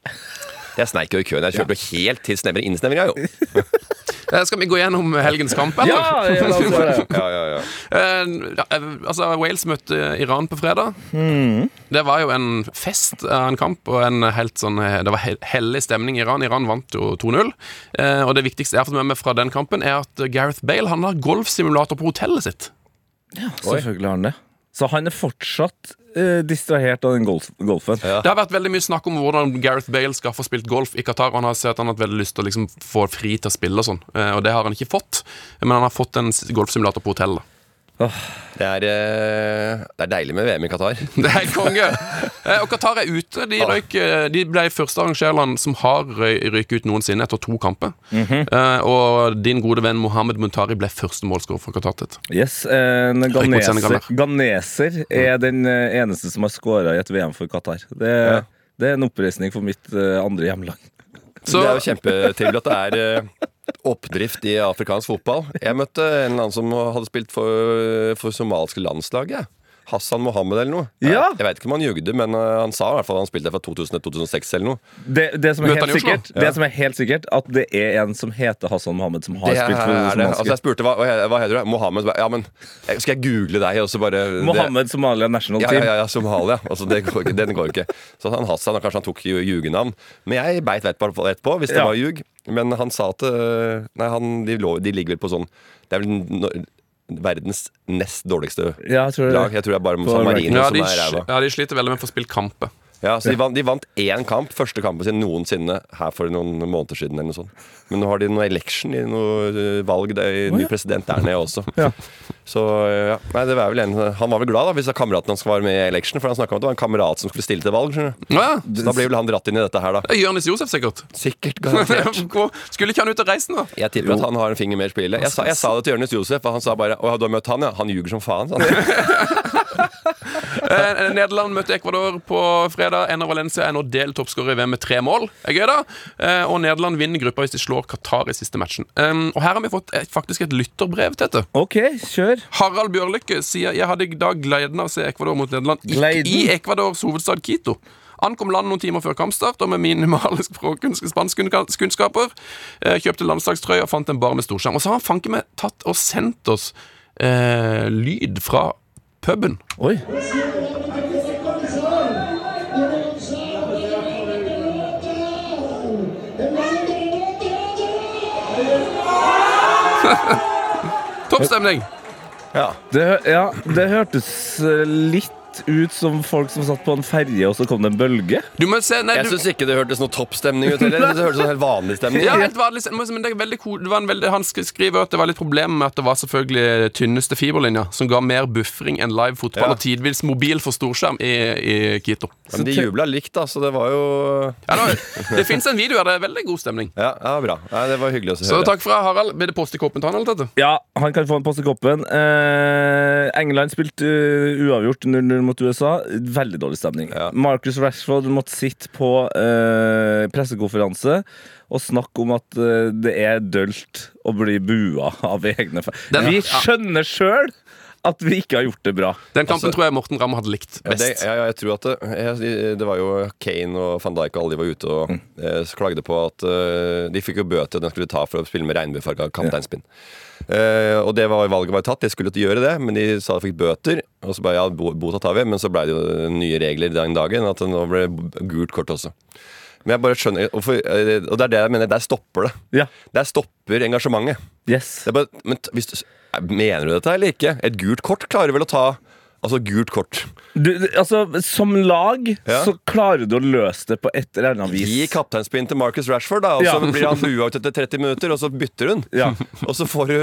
Jeg sneik jo i køen. Jeg kjørte jo helt til snevre innsnevringa, jo.
Eh, Skal vi gå gjennom helgens kamp, eller?
Ja, ja, la oss gjøre det.
Ja, ja, ja.
Eh, ja, eh, altså, Wales møtte Iran på fredag. Det var jo en fest av en kamp, og en helt sånn, eh, det var he- hellig stemning i Iran. Iran vant jo 2-0. Eh, og det viktigste jeg har fått med meg fra den kampen, er at Gareth Bale han har golfsimulator på hotellet sitt.
Selvfølgelig har han det. Så han er fortsatt eh, distrahert av den golf golfen.
Det har vært veldig mye snakk om hvordan Gareth Bale skal få spilt golf i Qatar. og Han har sett at han har hatt veldig lyst til å liksom få fri til å spille og sånn, eh, og det har han ikke fått. Men han har fått en s- golfsimulator på hotellet.
Det er, eh, det er deilig med VM i Qatar.
Det er helt konge. Eh, Og Qatar er ute. De, røyk, eh, de ble første arrangørland som har røy- røyket ut noensinne etter to kamper.
Mhm.
Eh, Og din gode venn Mohammed Muntari ble første målskårer for Qatar. Tett.
Yes, en
mot
ganeser,
Senegal,
ganeser er den eh, eneste som har skåra i et VM for Qatar. Det, det er en oppreisning for mitt eh, andre hjemland.
Så
Det er jo kjempetrivelig at det er eh, oppdrift i afrikansk fotball. Jeg møtte en eller annen som hadde spilt for, for somaliske landslaget. jeg. Hassan Mohammed eller noe.
Ja.
Jeg, jeg vet ikke om han jugde, men eh, han sa i hvert fall at han spilte der fra 2000 til 2006 eller noe.
Det, det, som er
Møter han i
helt
Oslo?
sikkert, det som er helt sikkert, at det er en som heter Hassan Mohammed, som har
Det er,
spilt for
er det.
Osmanske.
Altså jeg spurte hva, hva heter du? Mohammed. Så bare, Ja, men jeg- skal jeg google deg? Og så bare det-
Mohammed Somalia National
Ja,
Team.
ja, ja, ja, Somalia. Altså, det går ikke, den går ikke. Så han Hassan, han- kanskje han tok ju- jugenavn. Men jeg beit vett på rett på, hvis det
Ja.
var ljug. Men han sa at øh, Nei, han, de, lå, de ligger vel på sånn Det er vel no, verdens nest dårligste
Ja, jeg tror det.
lag. Jeg tror det er bare San Marino
ja,
som
de,
er ræva.
ja, de sliter veldig med å få spilt kamper.
Ja, så de vant, de vant én kamp, første kampen sin noensinne, her for noen måneder siden. eller noe sånt. Men nå har de noe election, i noe øh, valg, det er ny president der nede også.
Ja.
Så øh, ja, nei, det var vel en, Han var vel glad da, hvis det er kameraten hans som var med i election, for han snakka om at det var en kamerat som skulle stille til valg. skjønner du.
Ja,
Så da blir vel han dratt inn i dette her, da.
ja. Jonis Josef, sikkert.
Sikkert
Hvor- Skulle ikke han ut og reise nå?
Jeg tipper at han har en finger med i spillet. Jeg sa, jeg sa det til Jonis Josef, og han sa bare 'Å, du har møtt han, ja?' Han ljuger som faen. sa han.
Eh, eh, Nederland møtte Ecuador på fredag. Ener Valencia er nå delt toppskårer i VM med tre mål. Er gøy da Eh, Og Nederland vinner gruppa hvis de slår Qatar i siste matchen. Um, og Her har vi fått et, faktisk et lytterbrev. Tete
OK, kjør.
Harald Bjørlykke sier Jeg hadde i dag gleden av å se Ecuador mot Nederland ikke
Gleden?
i Ecuadors hovedstad Quito. Ankom land noen timer før kampstart, og med minimale språkkunns- spanskkunnskaper eh, kjøpte landslagstrøye og fant en bar med storskjerm. Og så har han fanken meg tatt og sendt oss eh, lyd fra puben.
Oi.
Topp stemning!
Ja.
Det, hø- ja, det hørtes eh, litt litt ut som folk som satt på en ferje, og så kom det en bølge.
Du må se, nei,
Jeg
du,
syns ikke det hørtes noe toppstemning ut heller. Jeg synes Det hørtes sånn helt vanlig stemning
ja, helt vanlig, men det er veldig cool. det var en veldig, Han sk- skriver at det var litt problem med at det var selvfølgelig eh, tynneste fiberlinja, som ga mer buffring enn live fotball
Ja.
og tidvis mobil for storskjerm i, i Quito.
Men de jubla likt, da, så det var jo
Ja, da, det fins en video der det er veldig god stemning.
Ja, ja bra. Nei, det var hyggelig å
Så
høre.
takk fra Harald. Blir det post i koppen til han? eller dette?
Ja, han kan få en post i koppen. Eh, England spilte eh, uavgjort 0-0 mot USA. Veldig dårlig stemning.
Ja.
Marcus Rashford måtte sitte på eh, pressekonferanse og snakke om at eh, det er dølt å bli bua av egne fan.
Den-
Vi
ja.
skjønner sjøl at vi ikke har gjort det bra.
Den kampen tror jeg Morten Ramm hadde likt
Ja, det,
best.
ja, ja, jeg tror at det, jeg, det var jo Kane og van Dijk og alle de var ute og eh, så klagde på at eh, de fikk jo bøter og den skulle ta for å spille med regnbuefarga kapteinspinn. Eh, og det var valget var tatt, de skulle ikke gjøre det, men de sa de fikk bøter. Og så ble ja, bo- bota tar vi, men så ble det jo nye regler den dagen, at nå ble det gult kort også. Men jeg bare skjønner hvorfor, eh, Og det er det jeg mener, der stopper det.
Ja,
Der stopper engasjementet.
yes
Det er bare, men t- hvis, du- mener du dette eller ikke? Et gult kort klarer vel å ta Altså gult kort.
du, altså, Som lag
Ja.
så klarer du å løse det på et eller annet vis.
Gi kapteinspinn til Marcus Rashford, da, og så
Ja.
blir han bua ut etter 30 minutter, og så bytter hun.
Ja.
Og så får du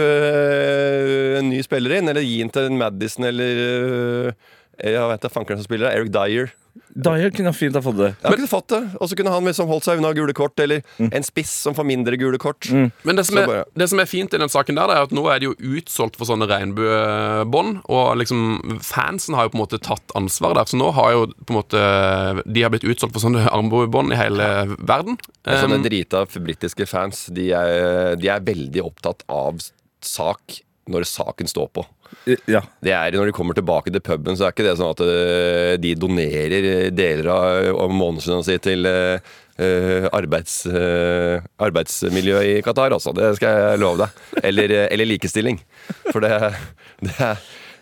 øh, en ny spiller inn, eller gi den til en Madison eller øh, jeg vet da fankeren som spiller, Eric Dyer.
Dyer kunne fint ha fått det.
Han kunne fått det, Og så kunne han liksom holdt seg unna gule kort, eller
Mm.
en spiss som får mindre gule kort.
Men det som,
Så
er,
bare-
det som er fint i den saken der, det er at nå er det jo utsolgt for sånne regnbuebånd. Og liksom fansen har jo på en måte tatt ansvar der. Så nå har jo på en måte De har blitt utsolgt for sånne armbuebånd i hele verden.
Sånne
Um,
sånn drita britiske fans, de er, de er veldig opptatt av sak når saken står på.
Eh, Ja.
det er Når de kommer tilbake til puben, så er ikke det sånn at øh, de donerer eh, deler av, av månedslønna si til øh, øh, arbeids, øh, arbeidsmiljøet i Qatar, altså. Det skal jeg love deg. Eller, øh, eller likestilling. For det, det er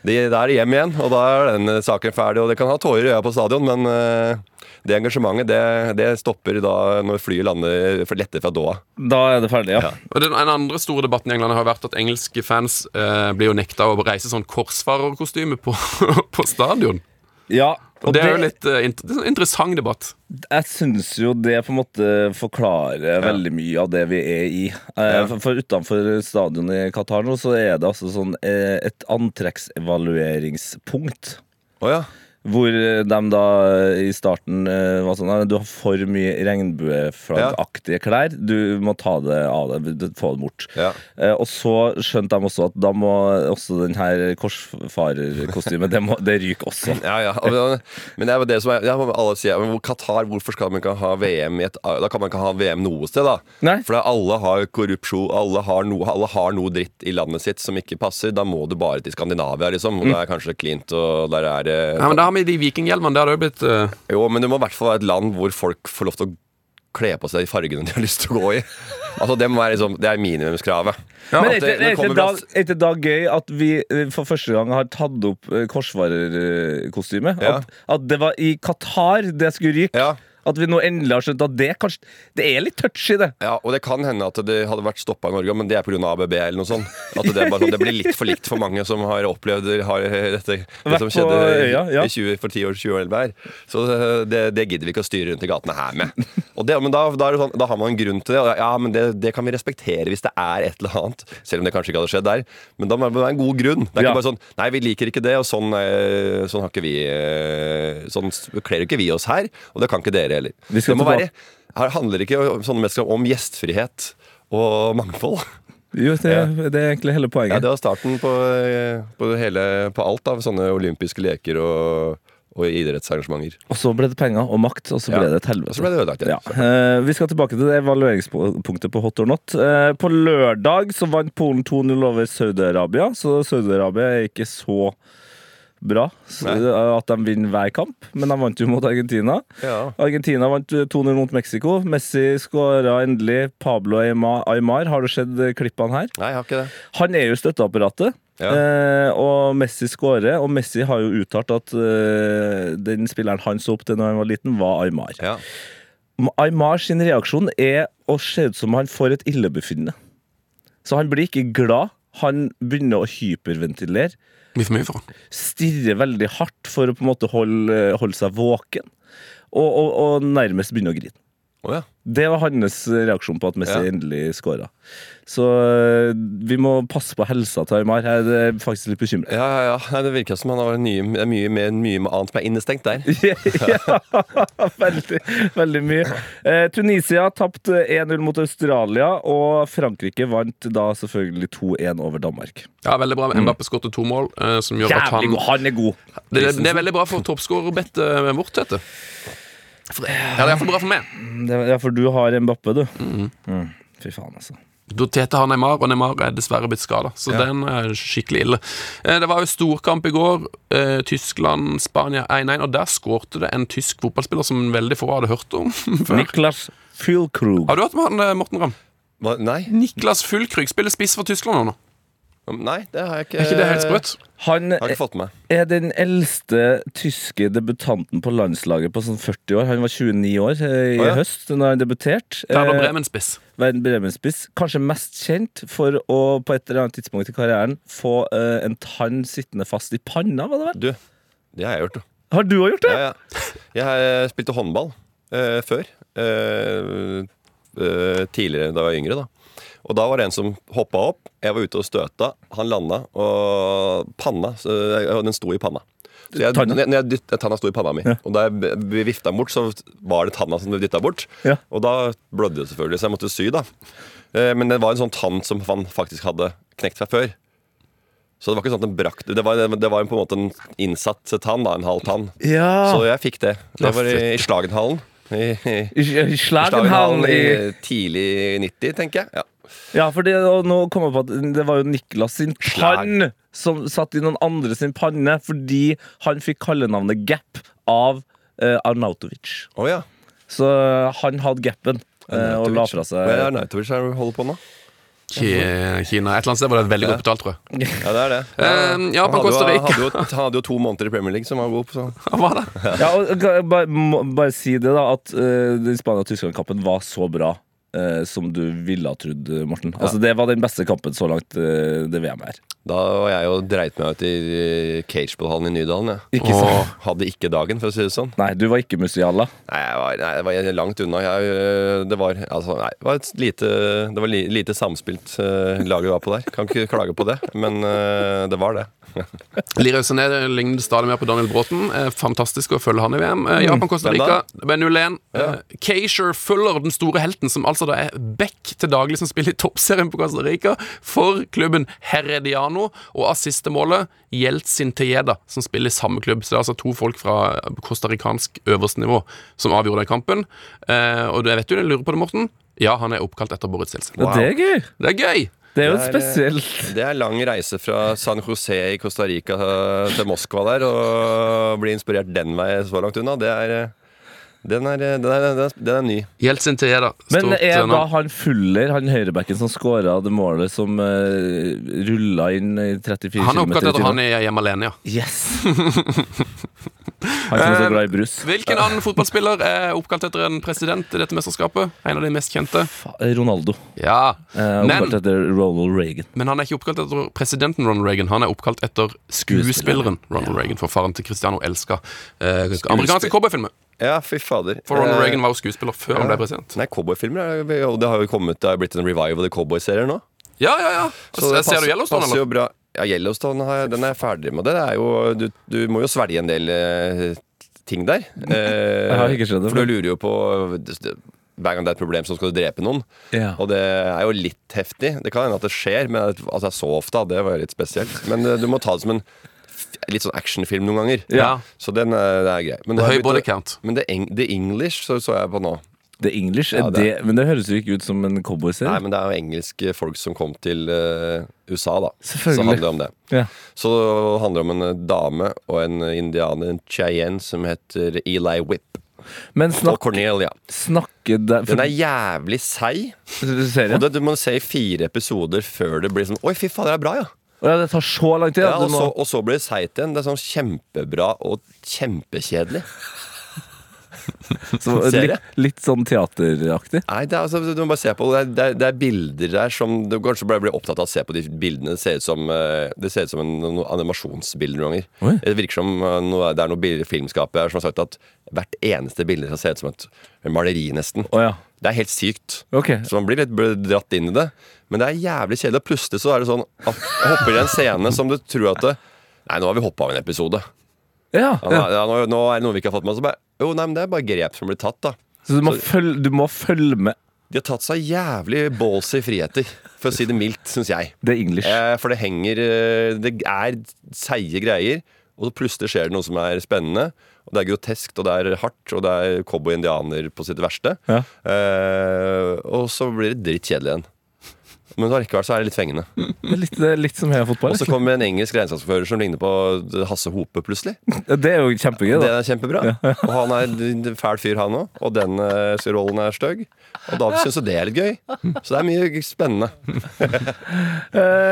de, Da er det hjem igjen, og da er den saken ferdig. Og det kan ha tårer i øya på stadion, men øh, det engasjementet det, det stopper da når flyet lander for lette fra Doha.
Da er det ferdig, ja.
og den, den andre store debatten i England har vært at engelske fans eh, blir jo nekta å reise sånn korsfarerkostyme på, på stadion.
ja.
Og det er jo litt eh, int det er en interessant debatt.
jeg syns jo det på en måte forklarer veldig mye av det vi er i. Eh, for, for utenfor stadionet i Qatar nå, så er det altså sånn eh, et antrekksevalueringspunkt.
Å ja.
Hvor eh, de da eh, i starten eh, var sånn «Nei, Du har for mye regnbueflaggaktige klær. Du må ta det av deg. du- Få det bort.
Ja.
Eh, og så skjønte de også at da må også den her korsfarerkostymet Det, må- det ryker også.
Ja, ja. Og, men det er jo det som er ja, Alle sier men hvor- Qatar, hvorfor skal man ikke ha VM i et Da kan man ikke ha VM noe sted, da.
Nei.
For da alle har korrupsjon, alle har, noe, alle har noe dritt i landet sitt som ikke passer. Da må du bare til Skandinavia, liksom. Og da er kanskje klint, og der er det
Ja, men Da har vi de vikinghjelmene. Det har det jo blitt eh,
Jo, men det må i hvert fall være et land hvor folk får lov til å kle på seg de fargene de har lyst til å gå i. Altså, Det må være liksom Det er minimumskravet.
Men
At
er ikke-
det- det
er ikke
kommer
da,
fra-
er ikke da gøy at vi eh, for første gang har tatt opp eh, korsfarerkostyme?
Ja.
At, at det var i Qatar det skulle ryke?
Ja.
At vi nå endelig har skjønt at det kanskje Det er litt touchy, det.
Ja, og det kan hende at det hadde vært stoppa i Norge, men det er pga. ABB eller noe sånt. At det, er bare, sånn- det blir litt for likt for mange som har opplevd har eh, dette, det
Vært
som
på
skjedde i-
øya, ja.
i 20, for 10 år 2011 her. Så eh, det, det gidder vi ikke å styre rundt i gatene her med. Og det, men da, da, er det sånn, da har man en grunn til det. og Ja, men det, det kan vi respektere hvis det er et eller annet. Selv om det kanskje ikke hadde skjedd der. Men da må det være en god grunn. Det er ikke
Ja.
bare sånn Nei, vi liker ikke det, og sånn, eh, sånn har ikke vi eh, Sånn kler ikke vi oss her, og det kan ikke dere heller.
Vi skal
Det må
tilbake-
være her handler ikke om- sånne mennesker om gjestfrihet og mangfold.
Jo, det, det er egentlig hele
Ja,
poenget.
det var starten på, eh, på, det hele, på alt av sånne olympiske leker og, og idrettsarrangementer.
Og så ble det penger og makt, og så ble
Ja.
det et
Og
helvete.
så ble det ødelagt igjen.
Ja. Eh, vi skal tilbake til det evalueringspunktet på hot or not. Eh, på lørdag så vant Polen 2-0 over Saudi-Arabia, så Saudi-Arabia er ikke så bra s-
Nei.
eh, at de vinner hver kamp, men de vant jo mot Argentina.
Ja.
Argentina vant eh, 2-0 mot Mexico. Messi skåra endelig. Pablo Aima- Aymar, har du sett eh, klippene her?
Nei, jeg har ikke det.
Han er jo støtteapparatet,
Ja.
eh, og Messi skårer. Og Messi har jo uttalt at eh, den spilleren han så opp til da han var liten, var Aymar.
Ja.
Aymar sin reaksjon er å se ut som han får et illebefinnende. Så han blir ikke glad. Han begynner å hyperventilere.
Mye for mye for han.
Stirrer veldig hardt for å på en måte holde, holde seg våken. Og, og, og nærmest begynner å grine.
Å ja.
Det var hans reaksjon på at Messi
Ja.
endelig skåra. Så øh, vi må passe på helsa til Aymar. Jeg er faktisk litt bekymra.
Ja, ja, ja. Nei, Det virker som han har nye, det er mye, mer, mye annet som er innestengt der.
ja, veldig, veldig mye. Eh, Tunisia tapte 1-0 mot Australia, og Frankrike vant da selvfølgelig 2-1 over Danmark.
Ja, veldig bra. Mbappé skåret to mål, eh, som gjør at han
Jævlig god! Han er god!
Det, det er veldig bra for toppskårerbettet vårt, heter det. For- Ja, det er iallfall bra for meg.
Liksom, Det er, ja, for du har Mbappé, du. Mm. Fy faen, altså.
Da Tete har Neymar, og Neymar er dessverre blitt skada. Så den er skikkelig ille. Eh, Det var jo storkamp i går. eh, Tyskland-Spania 1-1, og der skårte det en tysk fotballspiller som veldig få hadde hørt om før.
Niklas Füllkrug.
Har du hørt om han, eh, Morten Ramm?
Hva? Nei,
Niklas Fullkrygg spiller spiss for Tyskland nå.
nei, det har jeg ikke
Er ikke det helt sprøtt?
Han eh,
Har ikke fått med meg.
er den eldste tyske debutanten på landslaget på sånn 40 år. Han var 29 år eh, i
Å, ja.
høst da han debuterte.
Werder Bremen-spiss.
Verden Bremen-spiss. Kanskje mest kjent for å på et eller annet tidspunkt i karrieren få eh, en tann sittende fast i panna. Var det vel?
Du, det har jeg gjort, jo.
Har du òg gjort det?
Ja, ja. Jeg har, eh, spilte håndball eh, før. eh, eh, tidligere, da jeg var yngre, da. Og da var det en som hoppa opp. Jeg var ute og støta. Han landa, og panna så- eh, og Den sto i panna. Så jeg,
Tanna?
når jeg, når jeg dytt, tanna sto i panna mi. Og da jeg b- vifta den bort, så var det tanna som ble dytta bort.
Ja.
Og da blødde det selvfølgelig, så jeg måtte sy, da. Eh, Men det var en sånn tann som han faktisk hadde knekt fra før. Så det var ikke sånn at den brakk det. var, det var på en måte en innsatt tann, da. En halv tann. Så
Ja.
jeg fikk det. Det var i, i Slagenhallen. I, i, i
I- i Slagenhallen
Slagenhallen
i
i tidlig 90, tenker jeg. Ja.
Ja, for det, og nå kom jeg på at det var jo Niklas sin tann som satt i noen andre sin panne, fordi han fikk kallenavnet Gap av eh, Arnautovic.
Å ja.
Så han hadde gapen eh, og la fra
Hva er
seg
Arnautovic her du holder på nå?
Ki- Kina. Et eller annet sted var det veldig godt betalt, tror jeg.
Ja, det er det. Ja.
Eh, ja, på
han,
Costa
hadde jo,
Rica.
hadde jo, han hadde jo to måneder i Premier League som var god. på sånn.
Hva var det?
ja, og, kan jeg bare, må, bare si det, da, at eh, den Spania-Tyskland-kampen var så bra. eh, som du ville ha trodd, Morten. Altså, Det var den beste kampen så langt eh, det VM her.
Da var jeg jo dreit meg ut i eh, cageballhallen i Nydalen. Jeg.
Ikke sant?
Og hadde ikke dagen, for å si det sånn.
Nei, du var ikke Musiala.
Nei, jeg var, nei, jeg var langt unna. Jeg, øh, det var, altså, nei, det var, et lite, det var li, lite samspilt øh, lag vi var på der. Kan ikke klage på det, men øh, det var det.
Lira Sané ligner stadig mer på Daniel Bråten. Eh, Fantastisk å følge han i VM. Eh, Japan, Costa
Hvem da?
Rica, det ble 0-1. Eh, Keisher Fuller, den store helten, som altså da er back til daglig, som spiller i toppserien på Costa Rica, for klubben Herediano. Og assistemålet Jeltsin Tejeda, som spiller i samme klubb. Så det er altså to folk fra costaricansk øverste nivå som avgjorde den kampen. Eh, Og du- jeg vet jo du lurer på det, Morten. Ja, han er oppkalt etter Boris Jeltsin.
Ja, Det er gøy!
Det er gøy!
Det er jo
Det er, eh,
spesielt.
Det er lang reise fra San José i Costa Rica øh, til Moskva der, og bli inspirert den veien så langt unna, det er øh, den er, øh, den, er, den, er, den er ny.
Jeltsin Tejeda.
Men
stort, eh,
er
navn.
da han Fuller, han høyrebacken som skåra det målet som uh, rulla inn i 34
Han er
km i
oppkalt etter han
timen?
er hjemme alene, ja.
Yes! han som
Eh,
er så glad i brus.
Hvilken annen fotballspiller er oppkalt etter en president i dette mesterskapet? En av de mest kjente.
Fa- Ronaldo.
Ja,
Eh, oppkalt
men,
etter Ronald Reagan.
men han er ikke oppkalt etter presidenten Ronald Reagan. Han er oppkalt etter skuespilleren Ronald Reagan, for faren til Cristiano elska eh, amerikanske cowboyfilmer.
Ja, fy fader.
For Ronald
Eh,
Reagan var jo skuespiller før han ble president.
Nei, cowboyfilmer er- det har jo kommet, det har blitt en revive av the cowboyserier nå.
Ja, ja, ja.
Så det
Ser
passer-
du Yellowstone,
passer
eller?
jo bra. Ja, Yellowstone har jeg, den er jeg ferdig med. Det er jo, du, du må jo svelge en del eh, ting der. Eh,
Jeg har ikke skjønt det,
For
men-
du lurer jo på Hver gang det er et problem, så skal du drepe noen.
Ja.
Og det er jo litt heftig. Det kan hende at det skjer, men at altså, så ofte, det var jo litt spesielt. Men eh, du må ta det som en f- litt sånn actionfilm noen ganger.
Ja.
Så den er, det er grei. Men, nå
Det er
har
høy
jeg begynt å-
body count.
men The, Eng The English så, så jeg på nå.
The English, er
Ja,
det.
det-
Men det høres jo ikke ut som en
Nei,
cowboyserie.
men det er jo engelske folk som kom til eh, USA, da.
Selvfølgelig.
Så handler det om det.
Ja.
Så det handler om en eh, dame og en indianer, en cheyenne, som heter Eli Whip.
Men
Og
snakk,
Cornelia.
snakke der
Den er jævlig seig.
serien?
Og det, du må se i fire episoder før det blir sånn Oi, fy faen, det er bra, ja!
Å ja, det tar så lang tid!
ja
at du
og, så,
må-
og så blir det seigt igjen. Det er sånn kjempebra og kjempekjedelig.
Så,
Ser jeg.
litt, litt sånn teateraktig.
Nei, det er, altså, du må bare se på det. Det er, det er bilder der som Du kanskje bare blir opptatt av å se på de bildene. Det ser ut som, eh, det ser ut som en, noen animasjonsbilder noen
Oi.
ganger. Det virker som eh, noe, det er noe bilder- filmskapet her som har sagt at hvert eneste bilde skal se ut som et maleri, nesten.
Å ja.
Det er helt sykt.
Ok.
Så man blir litt bl- dratt inn i det. Men det er jævlig kjedelig. Og plutselig så er det sånn at hopper i en scene som du tror at det, Nei, nå har vi hoppa av en episode.
Ja,
Ja, nå,
ja.
ja, nå, nå er det noe vi ikke har fått med oss. Så bare, Jo, nei, men det er bare grep som blir tatt, da.
Så du må, følge, du må følge med.
De har tatt seg jævlig ballsy friheter, for å si det mildt, syns jeg.
Det er English.
Eh, for det henger eh, Det er seige greier, og så plutselig skjer det noe som er spennende. Og Det er groteskt, og det er hardt, og det er cowboy-indianer på sitt verste.
Ja.
Eh, og så blir det drittkjedelig igjen. Men allikevel så er det litt fengende.
Det er Litt, det er litt som Heia fotball.
Og så kommer en engelsk regnskapsfører som ligner på Hasse Hope, plutselig.
Ja, liksom. Det er jo kjempegøy,
Det
da.
er kjempebra. Og han er en fæl fyr, han òg. Og den eh, rollen er stygg. Og da syns jeg det er litt gøy. Så det er mye spennende.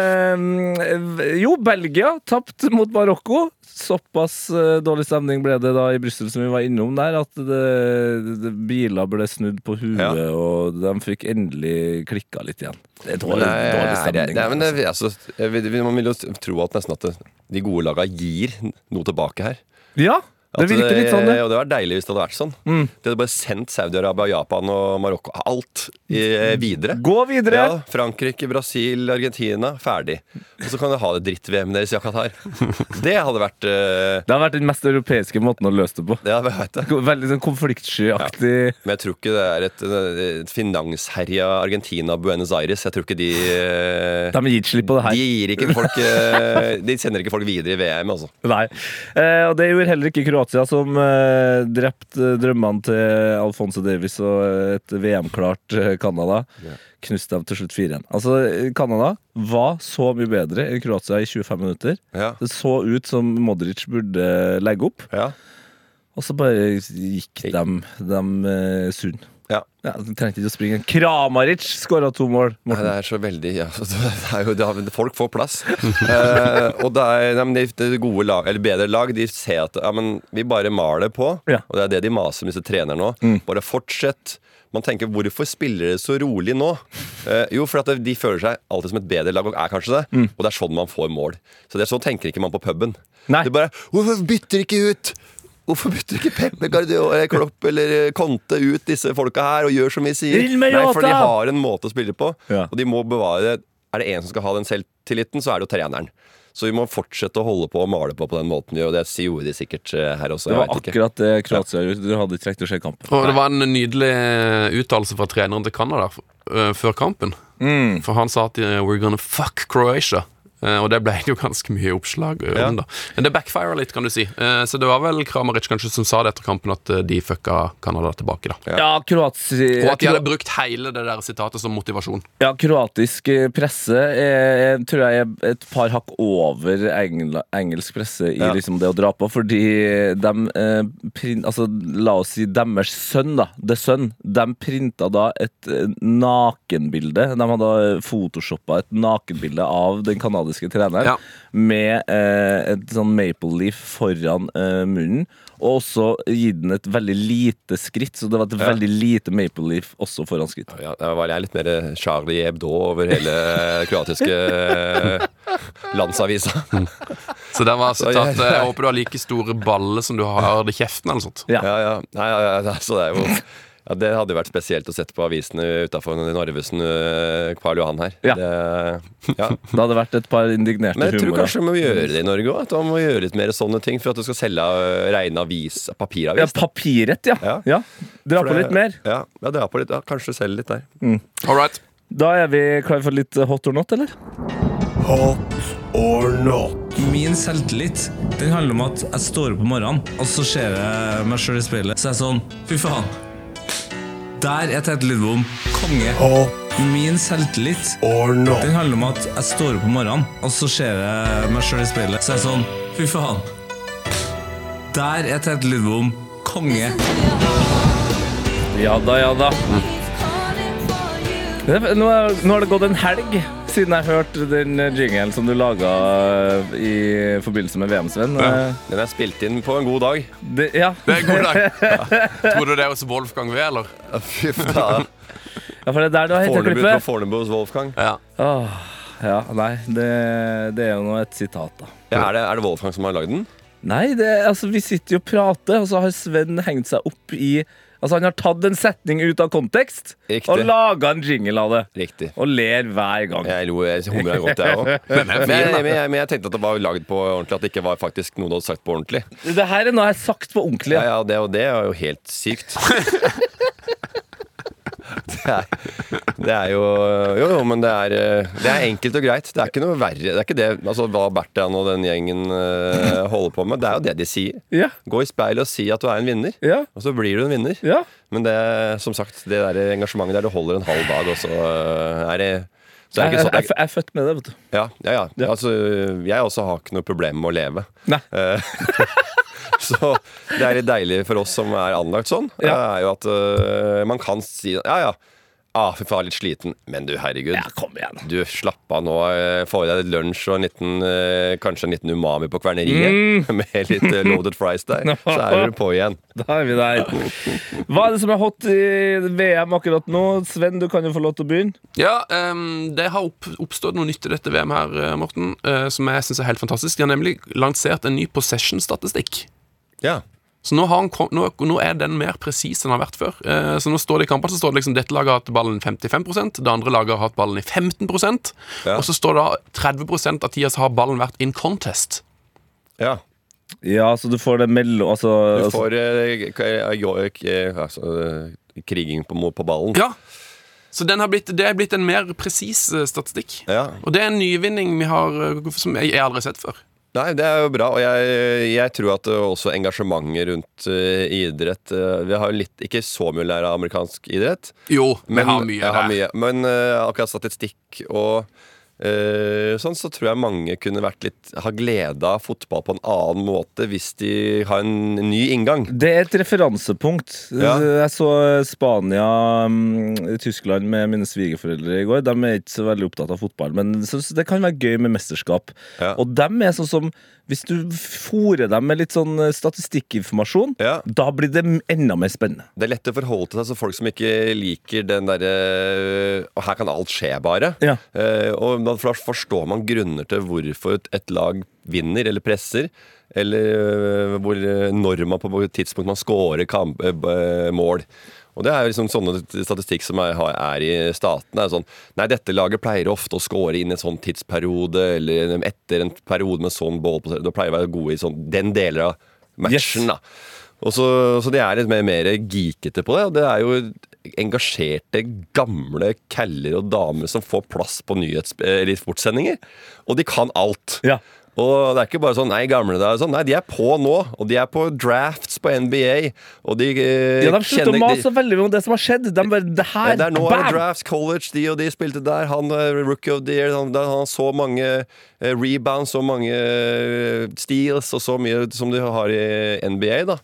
Eh, jo, Belgia tapt mot Marokko. Såpass eh, dårlig stemning ble det da i Brussel som vi var innom der, at det, det, biler ble snudd på huet,
Ja.
og de fikk endelig klikka litt igjen. Det er dårlig,
Nei,
dårlig
nei,
stemning.
Nei, men det, altså, jeg vil- vil- man vil jo tro at nesten at det, de gode laga gir noe tilbake her.
ja,
At
det virker litt sånn, det. Mm.
Og Altså, det var deilig hvis det hadde vært sånn. De hadde bare sendt Saudi-Arabia, Japan og Marokko alt i, eh, videre.
Gå videre!
Ja, Frankrike, Brasil, Argentina. Ferdig. Og så kan de ha det dritt-VM deres i Qatar. Det hadde vært eh,
Det har vært den mest europeiske måten å løse det på.
Ja, jeg vet det.
Veldig sånn konfliktskyaktig
Men jeg tror ikke det er et, et finansherja Argentina Buenos Aires. Jeg tror ikke de eh,
De gir ikke slipp på det her.
De gir ikke folk eh, De sender ikke folk videre i VM, altså.
Nei. Eh, og det gjorde heller ikke Kroatia, som eh, drepte drømmene til Alfonso Davies og eh, et VM-klart eh, Canada. Knuste dem til slutt 4-1. Altså, eh, Canada var så mye bedre enn Kroatia i 25 minutter.
Ja.
Det så ut som Modric burde legge opp,
Ja.
og så bare gikk
Hey.
dem, dem eh, sunn.
Ja.
Ja, de trengte ikke å springe. Kramaric skåra to mål.
Nei,
Morten.
det er så veldig ja, altså, det er jo, det har, Folk får plass. Eh, og det er, nei, men de, de gode lag, eller bedre lag de ser at ja, men vi bare maler på.
Ja. Mm.
Og det er det de maser med disse trenerne òg. Bare fortsett. Man tenker 'hvorfor spiller dere så rolig nå'? Eh, jo, for at de føler seg alltid som et bedre lag, og er kanskje det.
Mm.
Og det er sånn man får mål. Så det er sånn tenker ikke man på puben.
Nei.
Det er bare 'hvorfor bytter ikke ut'? Hvorfor bytter ikke Peppe Guardiola eller Klopp eller Conte ut disse folka her og gjør som vi sier?
Inn med
Nei, for de
Jota!
har har en måte å spille på,
Ja.
og de må bevare Er det en som skal ha den selvtilliten, så er det jo treneren. Så vi må fortsette å holde på og male på på den måten vi gjør, og det gjorde de sikkert eh, her også.
Det
Jeg
var
vet ikke.
akkurat det Kroatia gjorde. Du hadde ikke trengt å se kampen.
Og det var en nydelig eh, uttalelse fra treneren til Canada øh, før kampen.
Mm.
For han sa at øh, 'we're gonna fuck Croatia'. Eh, Og det ble det jo ganske mye oppslag øh,
Ja.
om, da. Men det backfira litt, kan du si. Eh, Så det var vel Kramaric kanskje som sa det etter kampen, at øh, de fucka Canada tilbake, da.
Ja, Kroatia
Og at de hadde brukt hele det der sitatet som motivasjon.
Ja, kroatisk eh, presse er, er- tror jeg er et par hakk over engla, engelsk presse i
Ja.
liksom det å dra på, fordi de eh, prin- Altså, la oss si deres sønn, da. The Sønn. De printa da et eh, nakenbilde. De hadde photoshoppa et nakenbilde av den kanadiske treneren
Ja.
med eh, et sånn maple leaf foran eh, munnen. Og også gitt den et veldig lite skritt, så det var et veldig lite maple leaf også foran skritt.
Ja, da var jeg litt mer eh, Charlie Hebdo over hele kroatiske eh, landsavisa.
Så der var sitatet
ja, ja.
'jeg håper du har like store baller som du har i kjeften', eller noe sånt.
Ja.
Ja, ja. Nei, ja, ja, altså, det er jo ja, Det hadde jo vært spesielt å sette på avisene utafor Narvesen, eh, Karl Johan her.
Ja.
Det, ja.
Det hadde vært et par indignerte
Men jeg tror
humorer.
kanskje vi må gjøre det i Norge òg. At man må gjøre litt mer sånne ting for at du skal selge øh, reine avis,
Ja,
papiravis.
papirrett, ja. ja.
Ja.
Dra
For
på
det-
litt mer.
Ja, ja, dra på litt. Ja, kanskje selge litt der.
All right.
Da er vi klare for litt hot or not, eller?
Hot or not?
Min selvtillit den handler om at jeg står opp om morgenen, og så ser jeg meg sjøl i speilet. Så er jeg sånn Fy faen. Der er Tete Lidbom konge.
Hot
Min selvtillit
or not?
den handler om at jeg står opp om morgenen, og så ser jeg meg sjøl i speilet. Så er jeg sånn Fy faen. Der er Tete Lidbom konge. Ja da, ja da. Det, nå, er, nå har det gått en helg Siden jeg hørte den jingelen som du laga i forbindelse med VM, Sven. eh,
Den er spilt inn på en god dag.
Det, ja.
Det er en Eh, god dag. Tror du det er hos Wolfgang V, eller?
Fy faen.
ja, for det er der du har hett
Fornebu på
klippet.
Fornebu hos Wolfgang.
Ja.
Åh, ja, nei, det, det er jo nå et sitat, da.
Ja, er, det, er det Wolfgang som har lagd den?
Nei, det, altså, vi sitter jo og prater, og så har Sven hengt seg opp i Altså, han har tatt en setning ut av kontekst
Riktig.
og laga en jingle av det.
Riktig.
Og ler hver gang.
Jeg lo jeg humra godt, jeg òg. Men, jeg- men, jeg- men jeg tenkte at det var lagd på ordentlig, at det ikke var faktisk noe du hadde sagt på ordentlig.
Det her er noe jeg har sagt på ordentlig.
Ja, ja, det, og det er jo helt sykt. Det er, det er jo Jo, jo, men det er, eh, det er enkelt og greit. Det er ikke noe verre. Det er ikke det altså, hva Bertan og den gjengen eh, holder på med. Det er jo det de sier.
Ja.
Gå i speilet og si at du er en vinner,
Ja.
og så blir du en vinner.
Ja.
Men det er, som sagt, det der engasjementet der det holder en halv dag, og så eh, er det så er det
Jeg, jeg,
ikke sånn, det er
jeg,
ikke-
jeg er født med det, vet du.
ja, ja, ja. Altså, jeg også har ikke noe problem med å leve.
Nei.
Eh, Så det er litt deilig for oss som er anlagt sånn,
Ja.
er jo at øh, man kan si Ja, ja. Ah, fy faen, litt sliten. Men du, herregud.
Ja, kom igjen.
Du, slapp av nå. øh, Få i deg litt lunsj og en liten, øh, kanskje en liten umami på kverneriet.
Mm.
Med litt øh, loaded fries der. Så er du på igjen.
Da er vi der. Hva er det som er hot i VM akkurat nå? Sven, du kan jo få lov til å begynne.
Ja, ehm, det har opp, oppstått noe nytt i dette VM her, eh, Morten, eh, som jeg syns er helt fantastisk. De har nemlig lansert en ny possession-statistikk.
Ja.
Så nå, har han kom, nå, nå er den mer presis enn den har vært før. Eh, så nå står det i kampene så står det liksom dette laget har hatt ballen 55 det andre laget har hatt ballen i 15
Ja.
og så står det 30 av tida så har ballen vært in contest.
ja.
Ja, så du får det mellom altså,
Du
altså-
får øh, k- øh, jo- øh, k- øh, altså, øh, kriging på, mot- på ballen.
Ja. Så den har blitt, det er blitt en mer presis eh, statistikk.
Ja.
Og det er en nyvinning vi har, eh, som jeg, jeg aldri har sett før.
Nei, det er jo bra, og jeg, jeg tror at det er også engasjementet rundt eh, idrett eh, Vi har jo litt, ikke så mye å lære av amerikansk idrett,
Jo, vi har mye.
jeg har
der.
mye. men eh, akkurat statistikk og eh, sånn, så tror jeg mange kunne vært litt, ha glede av fotball på en annen måte hvis de har en ny inngang.
Det er et referansepunkt.
Ja.
Jeg så Spania, mm, Tyskland med mine svigerforeldre i går. De er ikke så veldig opptatt av fotball, men jeg synes det kan være gøy med mesterskap.
Ja.
Og dem er sånn som Hvis du fôrer dem med litt sånn eh, statistikkinformasjon,
Ja.
da blir det enda mer spennende.
Det er lett å forholde til seg så folk som ikke liker den derre Og her kan alt skje, bare.
Ja.
Eh, og da for- forstår man grunner til hvorfor et- et lag vinner eller presser. Eller eh, hvor, eh, når man på hvilket tidspunkt man scorer kamp, eh, b- eh, mål. Og det er jo liksom sånne statistikk som er, har- er i staten. Er sånn, nei, dette laget pleier ofte å score inn i en sånn tidsperiode, eller etter en periode med sånn ballpossession. Da pleier å være gode i sånn, den deler av matchen, da. Og så, så de er litt mer, mer geekete på det. Og det er jo engasjerte, gamle caller og damer som får plass på nyhets- eller sportssendinger. Og de kan alt.
Ja.
Og det er ikke bare sånn Nei, gamle dager sånn. Nei, de er på nå. Og de er på drafts på NBA. Og de, eh,
Ja, de slutter å mase
de-
så veldig mye om det som har skjedd. De bare, det her,
Nei, det er nå er det
bam!
drafts, college, de og de spilte der. Han eh, rookie of the year. Han, han har så mange eh, rebounds, så mange eh, steals og så mye som de har i NBA, da.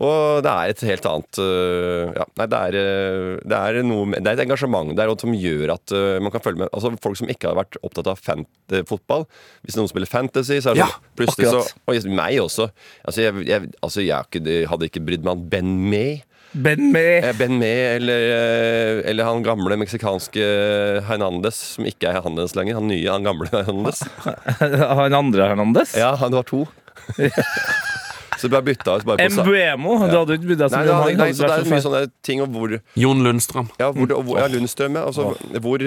Og det er et helt annet eh, ja, Nei, det er, eh, det er noe med, Det er et engasjement der og som gjør at eh, man kan følge med. Altså Folk som ikke har vært opptatt av fan eh, fotball. Hvis noen spiller fantasy, så er det
Ja,
sånn, plutselig så
akkurat.
Og meg også. Altså, jeg, jeg, altså, jeg har ikke, hadde ikke brydd meg om Ben May.
Ben med
Eh, Ben Mee eller, eh, eller han gamle meksikanske eh, Hernandez, som ikke er Hernandez lenger. Han nye, han gamle Hernandez.
han andre Hernandez.
Ja, han var to. så det ble bytta ut bare på sa-
Mbuemo. Du hadde jo ikke brydd deg så
Nei,
mye om
nei,
han.
nei, så
hadde
det
vært
er
så
mye sånne ting om hvor
Jon Lundstrøm.
Ja,
Mm.
hvor, og hvor ja, Lundstrøm, ja. Altså, hvor,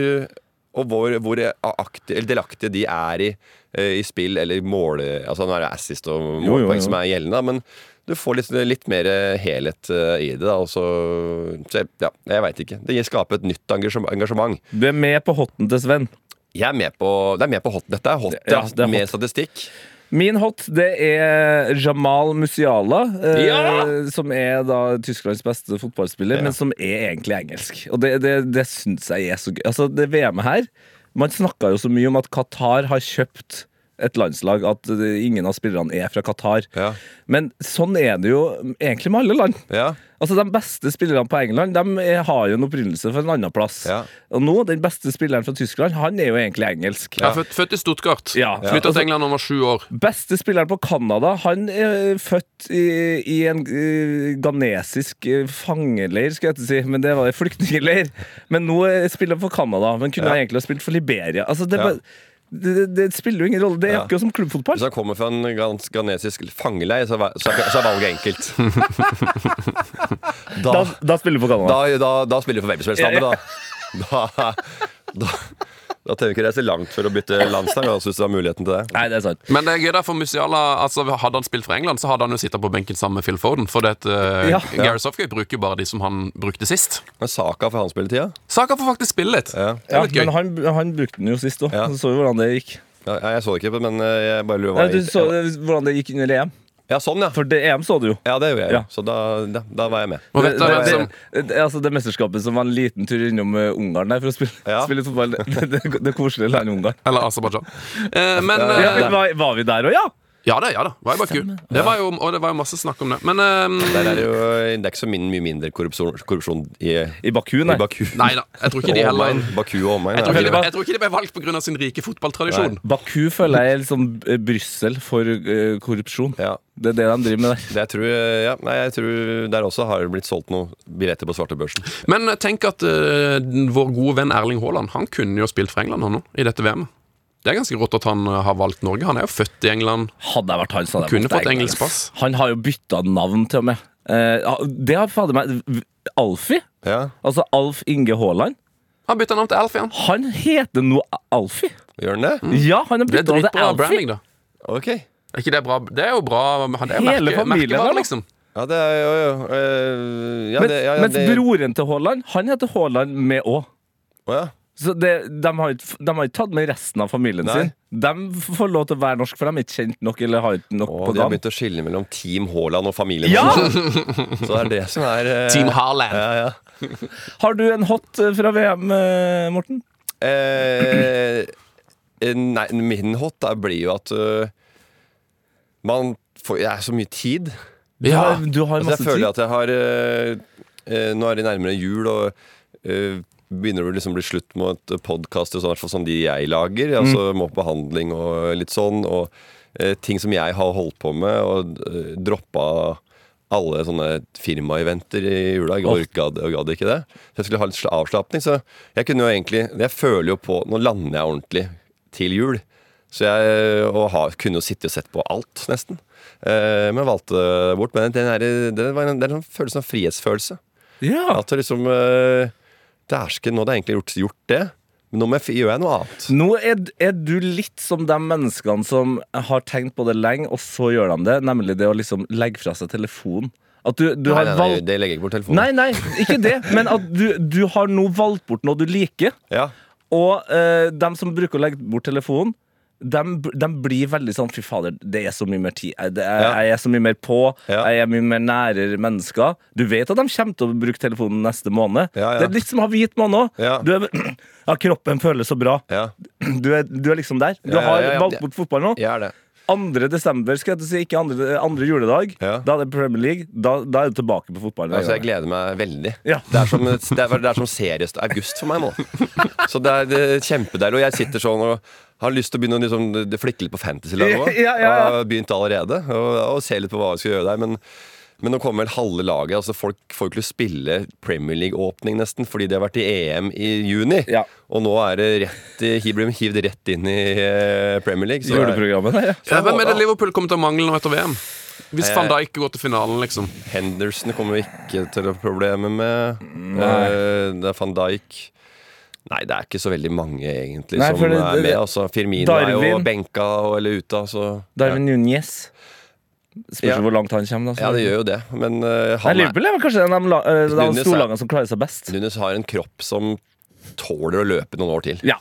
og hvor, hvor akti- eller delaktige de er i, eh, i spill eller mål... Altså nå er det assist og
jo,
målpoeng
jo.
som er gjeldende, men du får litt, litt mer helhet eh, i det. Da, og så, så jeg, ja, jeg veit ikke. Det skaper et nytt engasjem- engasjement.
fett. Du er med på hotten til Sven.
Jeg er med på, det er med på hot. Dette er hot,
Ja,
ja,
det er
med statistikk.
Min hot det er Jamal Musiala, eh, som er da Tysklands beste fotballspiller, men som er egentlig engelsk. Og det, det, det syns jeg er så gøy. Altså, det VM-et her Man snakka jo så mye om at Qatar har kjøpt et landslag at eh, ingen av spillerne er fra Qatar.
Ja.
Men sånn er det jo egentlig med alle land.
Ja.
Altså, De beste spillerne på England de er, har jo en opprinnelse fra en annen plass.
Ja.
Og nå, Den beste spilleren fra Tyskland han er jo egentlig engelsk.
Jeg er født, født i Stuttgart.
Ja. Ja.
Flytta til England da han var sju år.
Beste spilleren på Canada han er født i, i en eh, ghanesisk eh, fangeleir, skulle jeg til å si. Men det var en flyktningleir. Men nå eh, spiller han for Canada. Men kunne han egentlig ha spilt for Liberia. Altså, det, er
Ja.
bare- det, det, det spiller jo ingen rolle. Det er
Ja.
akkurat som klubbfotball.
Hvis han kommer fra en gans- ghanesisk fangeleir, så, er va- så, er- så er valget enkelt.
Da, da spiller du for Canada.
da, da, da spiller vi for hvem som helst
Ja, ja.
andre, da. Da, da, da trenger vi ikke reise langt for å bytte landslag. da, Hvis du har muligheten til det
Nei, det er sant.
Men det er gøy da, for Musiala altså, Hadde han spilt for England, så hadde han jo sittet på benken sammen med Phil Foden. For det, at, eh,
Ja.
Gary Sofgate bruker jo bare de som han brukte sist.
Men Saka fra hans spilletid, ja.
Saka får faktisk spille litt.
Ja.
Det
Ja,
er litt
men
gøy.
han, han brukte den jo sist òg.
Ja.
Så så vi hvordan det gikk.
Ja, Jeg så det ikke, men eh, jeg bare lurer
Nei,
hva
du så eh, hvordan det gikk under EM.
Ja, sånn, ja.
For det EM så du jo.
Ja, det gjorde jeg.
Ja.
jo. Så da, da, da var jeg med.
Og
Det,
vet du
det,
hvem
det,
som
det- altså det mesterskapet som var en liten tur innom eh, Ungarn der for å spille,
Ja.
spille fotball. Det, det, det koselige landet Ungarn.
Eller Aserbajdsjan. Eh, men eh,
Ja, men var, var vi der òg, ja?
Ja da, ja da. Var i Baku. Det var jo, og det var jo masse snakk om det. Men eh,
Der er det jo det er ikke så min, mye mindre korrupsjon, korrupsjon i,
I Baku, nei.
i Baku.
nei da. Jeg tror ikke de
Og
heller
omegn. Baku og omegn.
Jeg tror
ja.
ikke de, jeg tror ikke de ble valgt pga. sin rike fotballtradisjon.
Baku føler jeg er liksom eh, Brussel for eh, korrupsjon.
Ja.
Det er det de driver med der.
Det jeg tror, eh, ja, nei, jeg tror der også har det blitt solgt noen billetter på svartebørsen.
Men tenk at eh, vår gode venn Erling Haaland Han kunne jo spilt for England han nå, i dette VM-et. Det er ganske rått at han eh, har valgt Norge. Han er jo født i England.
Hadde jeg vært han, så hadde jeg
Kunne
valgt
fått
England.
engelsk pass.
Han har jo bytta navn, til og med. Eh, ja, det har fader meg Alfie.
Ja,
Altså Alf Inge Haaland.
Han bytta navn til Alfie, han.
Han heter nå Alfie.
Gjør den det?
Ja, han har
Det er
bytta navn til
dritbra
Alfie.
branding, da.
Ok.
Er ikke det bra? Det er jo bra men han- Det er jo
Hele
merke-
familien
merkevare,
der, da.
liksom.
Ja, det er jo jo, eh, ja,
Men,
det, ja, ja,
mens
det,
broren til Haaland, han heter Haaland med Å.
Å, ja.
Så det, de, har ikke, f- de har ikke tatt med resten av familien
Nei.
sin. De f- får lov til å være norsk, for de er ikke kjent nok eller har ikke nok på
Å, de har
dagen.
begynt å skille mellom Team Haaland og familien.
Ja!
Så det er det som er eh,
Team Haaland.
Ja, ja.
Har du en hot eh, fra VM, eh, Morten?
Eh, eh, nei, min hot der blir jo at eh, man får Det er så mye tid.
Du
Ja.
har- Du har
Altså,
masse
jeg føler
tid.
at jeg har eh, eh, Nå er det nærmere jul, og eh, begynner det liksom å bli slutt med et podkast og sånn, i hvert fall sånn de jeg lager. Altså må på behandling og litt sånn. Og eh, ting som jeg har holdt på med, og uh, droppa alle sånne firmaeventer i jula. Jeg
Åh.
orka det- jeg gadd ikke det. Så jeg skulle ha litt sl- avslapning. Så jeg kunne jo egentlig Jeg føler jo på Nå lander jeg ordentlig til jul. Så jeg eh, og har, kunne jo sitte og sett på alt, nesten. Eh, men valgte det bort. Men den her, det var en, det er en følelse av frihetsfølelse.
Ja.
At det liksom eh, Dæsken, nå hadde jeg egentlig gjort, gjort det, men nå må jeg, f- gjør jeg noe annet.
Nå er, d- er du litt som de menneskene som har tenkt på det lenge, og så gjør de det. Nemlig det å liksom legge fra seg telefonen. At du, du har
nei, nei,
valgt
det legger jeg ikke bort telefonen.
Nei, nei, ikke det. Men at du, du har nå valgt bort noe du liker.
Ja.
Og eh, dem som bruker å legge bort telefonen, dem, dem blir veldig sånn Fy fader, det er så mye mer tid. Jeg, det er,
Ja.
jeg er så mye mer på.
Ja.
Jeg er mye mer nærere mennesker. Du vet at de kommer til å bruke telefonen neste måned.
Ja, ja.
Det er litt som å ha hvit måned òg.
Ja.
Ja, kroppen føles så bra.
ja,
Du er, du er liksom der. Du
Ja, ja,
har
ja, ja.
valgt bort fotball nå.
jeg er det.
2. desember, skal jeg til å si. Ikke andre, andre juledag.
Ja.
Da er det Premier League. Da, da er du tilbake på fotballen.
Altså, jeg gleder meg veldig.
Ja.
Det er som, det er, det er som seriøst august for meg nå. Så det er, det er kjempedeilig. Og jeg sitter sånn og har lyst til å begynne å liksom, flikke litt på fantasy-laget òg.
Ja, ja, ja.
Jeg har begynt allerede. Og, og se litt på hva vi skal gjøre der. Men, men nå kommer vel halve laget. Altså, folk får ikke lyst til å spille Premier League-åpning nesten fordi de har vært i EM i juni.
Ja.
Og nå er det rett, i- blir de hivd rett inn i eh, Premier League. Så det er
Juleprogrammet der, ja.
Ja, Hvem er det Liverpool kommer til å mangle nå etter VM? Hvis van Dijk går til finalen, liksom.
Henderson kommer vi ikke til å ha problemer med. Eh, Det er van Dijk. Nei, det er ikke så veldig mange egentlig
Nei,
som
for det-
er
det-
med. Altså, Firmino er jo
Darwin.
benka og, eller ute. Altså.
Darwin Núñez. Spørs
Ja.
hvor langt han kommer. Da,
Ja, det gjør jo det. Men eh,
Nei,
han er,
Liverpool er vel kanskje en av de, la- eh, de
Nunes er-
storlagene som klarer seg best.
Nunes har en kropp som tåler å løpe noen år til.
Ja.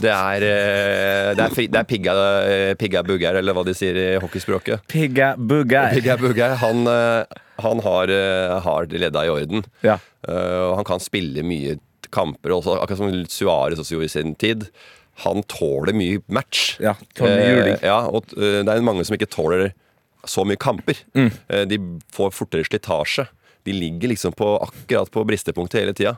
Det er, eh, det er, fri- det er pigga, eh, pigga bugger, eller hva de sier i hockeyspråket.
Pigga bugger.
Pigga bugger, han, eh, han har, eh, har ledda i orden.
Ja.
Eh, og han kan spille mye kamper, også, akkurat som Suarez også gjorde i sin tid. han tåler mye match.
Ja, tåler mye juling.
Eh, ja, og eh, det er mange som ikke tåler så mye kamper.
Mm.
Eh, de får fortere slitasje. De ligger liksom på, akkurat på bristepunktet hele tida.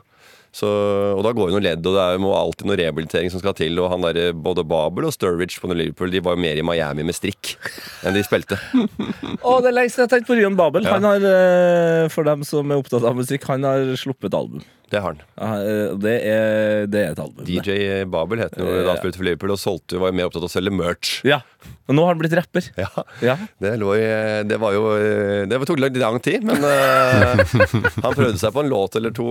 Så, og da går det noe ledd, og det er, må alltid noe rehabilitering som skal til. Og han der, eh, både Babel og Sturridge på Liverpool De var jo mer i Miami med strikk enn de spilte.
Å, det er lengst jeg har tenkt på Rion Babel. Han har, eh, for dem som er opptatt av musikk, han har sluppet album.
Det har han.
Ja, eh, Det er, det er et album. det.
DJ Babel het han jo da han spilte for Liverpool, og solgte, var jo mer opptatt av å selge merch.
Ja. Og nå har han blitt rapper.
Ja.
Ja.
Det, lå i, det var jo Det tok litt lang tid, men eh, han prøvde seg på en låt eller to,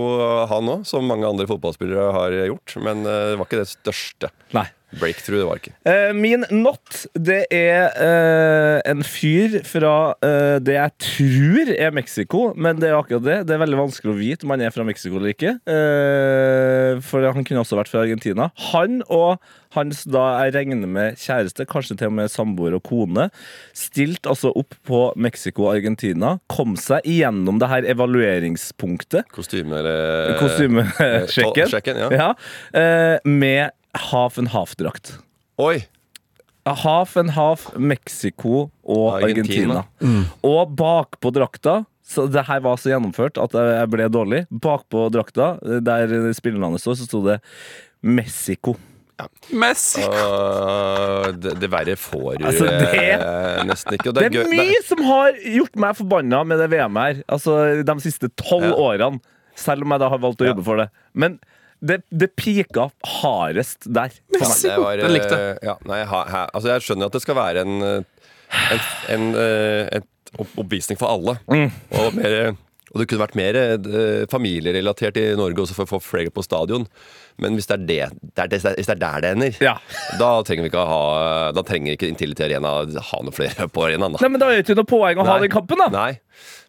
han òg, som mange andre fotballspillere har gjort. Men eh, det var ikke det største.
Nei.
Breakthrough det var ikke.
Eh, min not, det er eh, en fyr fra eh, det jeg tror er Mexico, men det er akkurat det. Det er veldig vanskelig å vite om han er fra Mexico eller ikke. Eh, for han kunne også vært fra Argentina. Han og hans da jeg regner med kjæreste, kanskje til og med samboer og kone, stilte altså opp på Mexico og Argentina, kom seg igjennom det her evalueringspunktet.
Kostyme eller
Kostymesjekken.
Eh, Sjekken, ja.
Ja, eh, med half and half-drakt.
Oi!
Half and half Mexico og Argentina.
Argentina.
Og bakpå drakta så det her var så gjennomført at jeg ble dårlig. Bakpå drakta, der spillernavnet står, så sto det Mexico.
Messi!
Uh, det, det verre får du
Altså, det-
eh, nesten ikke. Og
Det er
gøy-
mye som har gjort meg forbanna med det VM her. Altså de siste tolv
Ja.
årene. Selv om jeg da har valgt å jobbe for det. Men det, det pika hardest der. for meg.
Nei, det var,
Den likte.
eh, Ja, nei, ha, ha, altså jeg skjønner at det skal være en, eh, en, en, eh, et opp- oppvisning for alle.
Mm.
Og, mer, eh, og det kunne vært mer eh, familierelatert i Norge også for å få flere på stadion. Men hvis det er, det, det er, det, hvis det, er der det ender,
Ja.
da trenger vi ikke å ha Da trenger ikke Intility Arena ha noen flere på arenaen. Da.
Nei, men Da er det ikke noe poeng å ha den kampen, da.
Nei.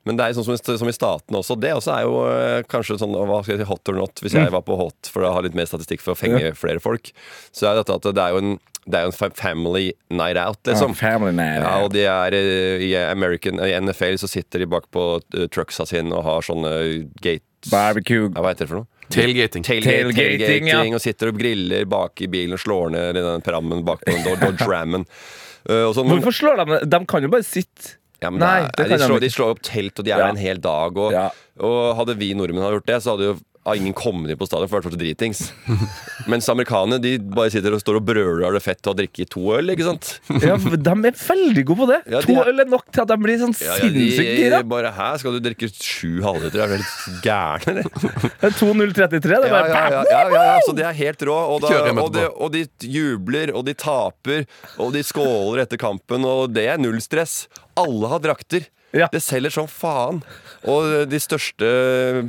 Men det er sånn som, i- som i statene også. Det også er jo eh, kanskje sånn hva skal jeg si, hot or not, hvis
Mm.
jeg var på hot for å ha litt mer statistikk for å fenge flere folk. Så er dette at det er jo en, det er jo en fa- family night out, liksom.
family night
Ja,
out.
og de er eh, i American I NFL så sitter de bak på eh, trucksa sine og har sånne gates
Barbecue.
Ja, Hva heter det for noe?
Tailgating.
Tailgate-
Tailgating,
tailgating,
ja.
Og sitter og griller bak i bilen og slår ned i den prammen bak på den Dodge- Dodge Rammen. Eh, og sånn,
Hvorfor slår de De kan jo bare sitte.
Ja, men
Nei,
det
det kan
er, de,
jeg
slår,
ikke.
de slår opp telt, og de er
Ja.
der en hel dag. Og,
Ja.
og hadde vi nordmenn ha gjort det, så hadde jo hadde ingen kommet inn på stadion. For det hadde vært så dritings. Mens amerikanerne de bare sitter og står og brøler og har det fett og drikker to øl. ikke sant?
Ja, for de er veldig gode på det.
Ja, de
to
er-
øl er nok til at de blir sånn
Ja, ja,
sinnssykt gira.
de bare Hæ, skal du drikke sju halvliter? Er du helt gæren, eller?
Det er 2.033. Det er
Ja,
bare
ja, ja, ja, ja, ja, så det er helt rå. Og, da,
Kjører hjem
og, de, og de jubler, og de taper, og de skåler etter kampen, og det er null stress. Alle har drakter.
Ja.
Det selger som faen. Og de største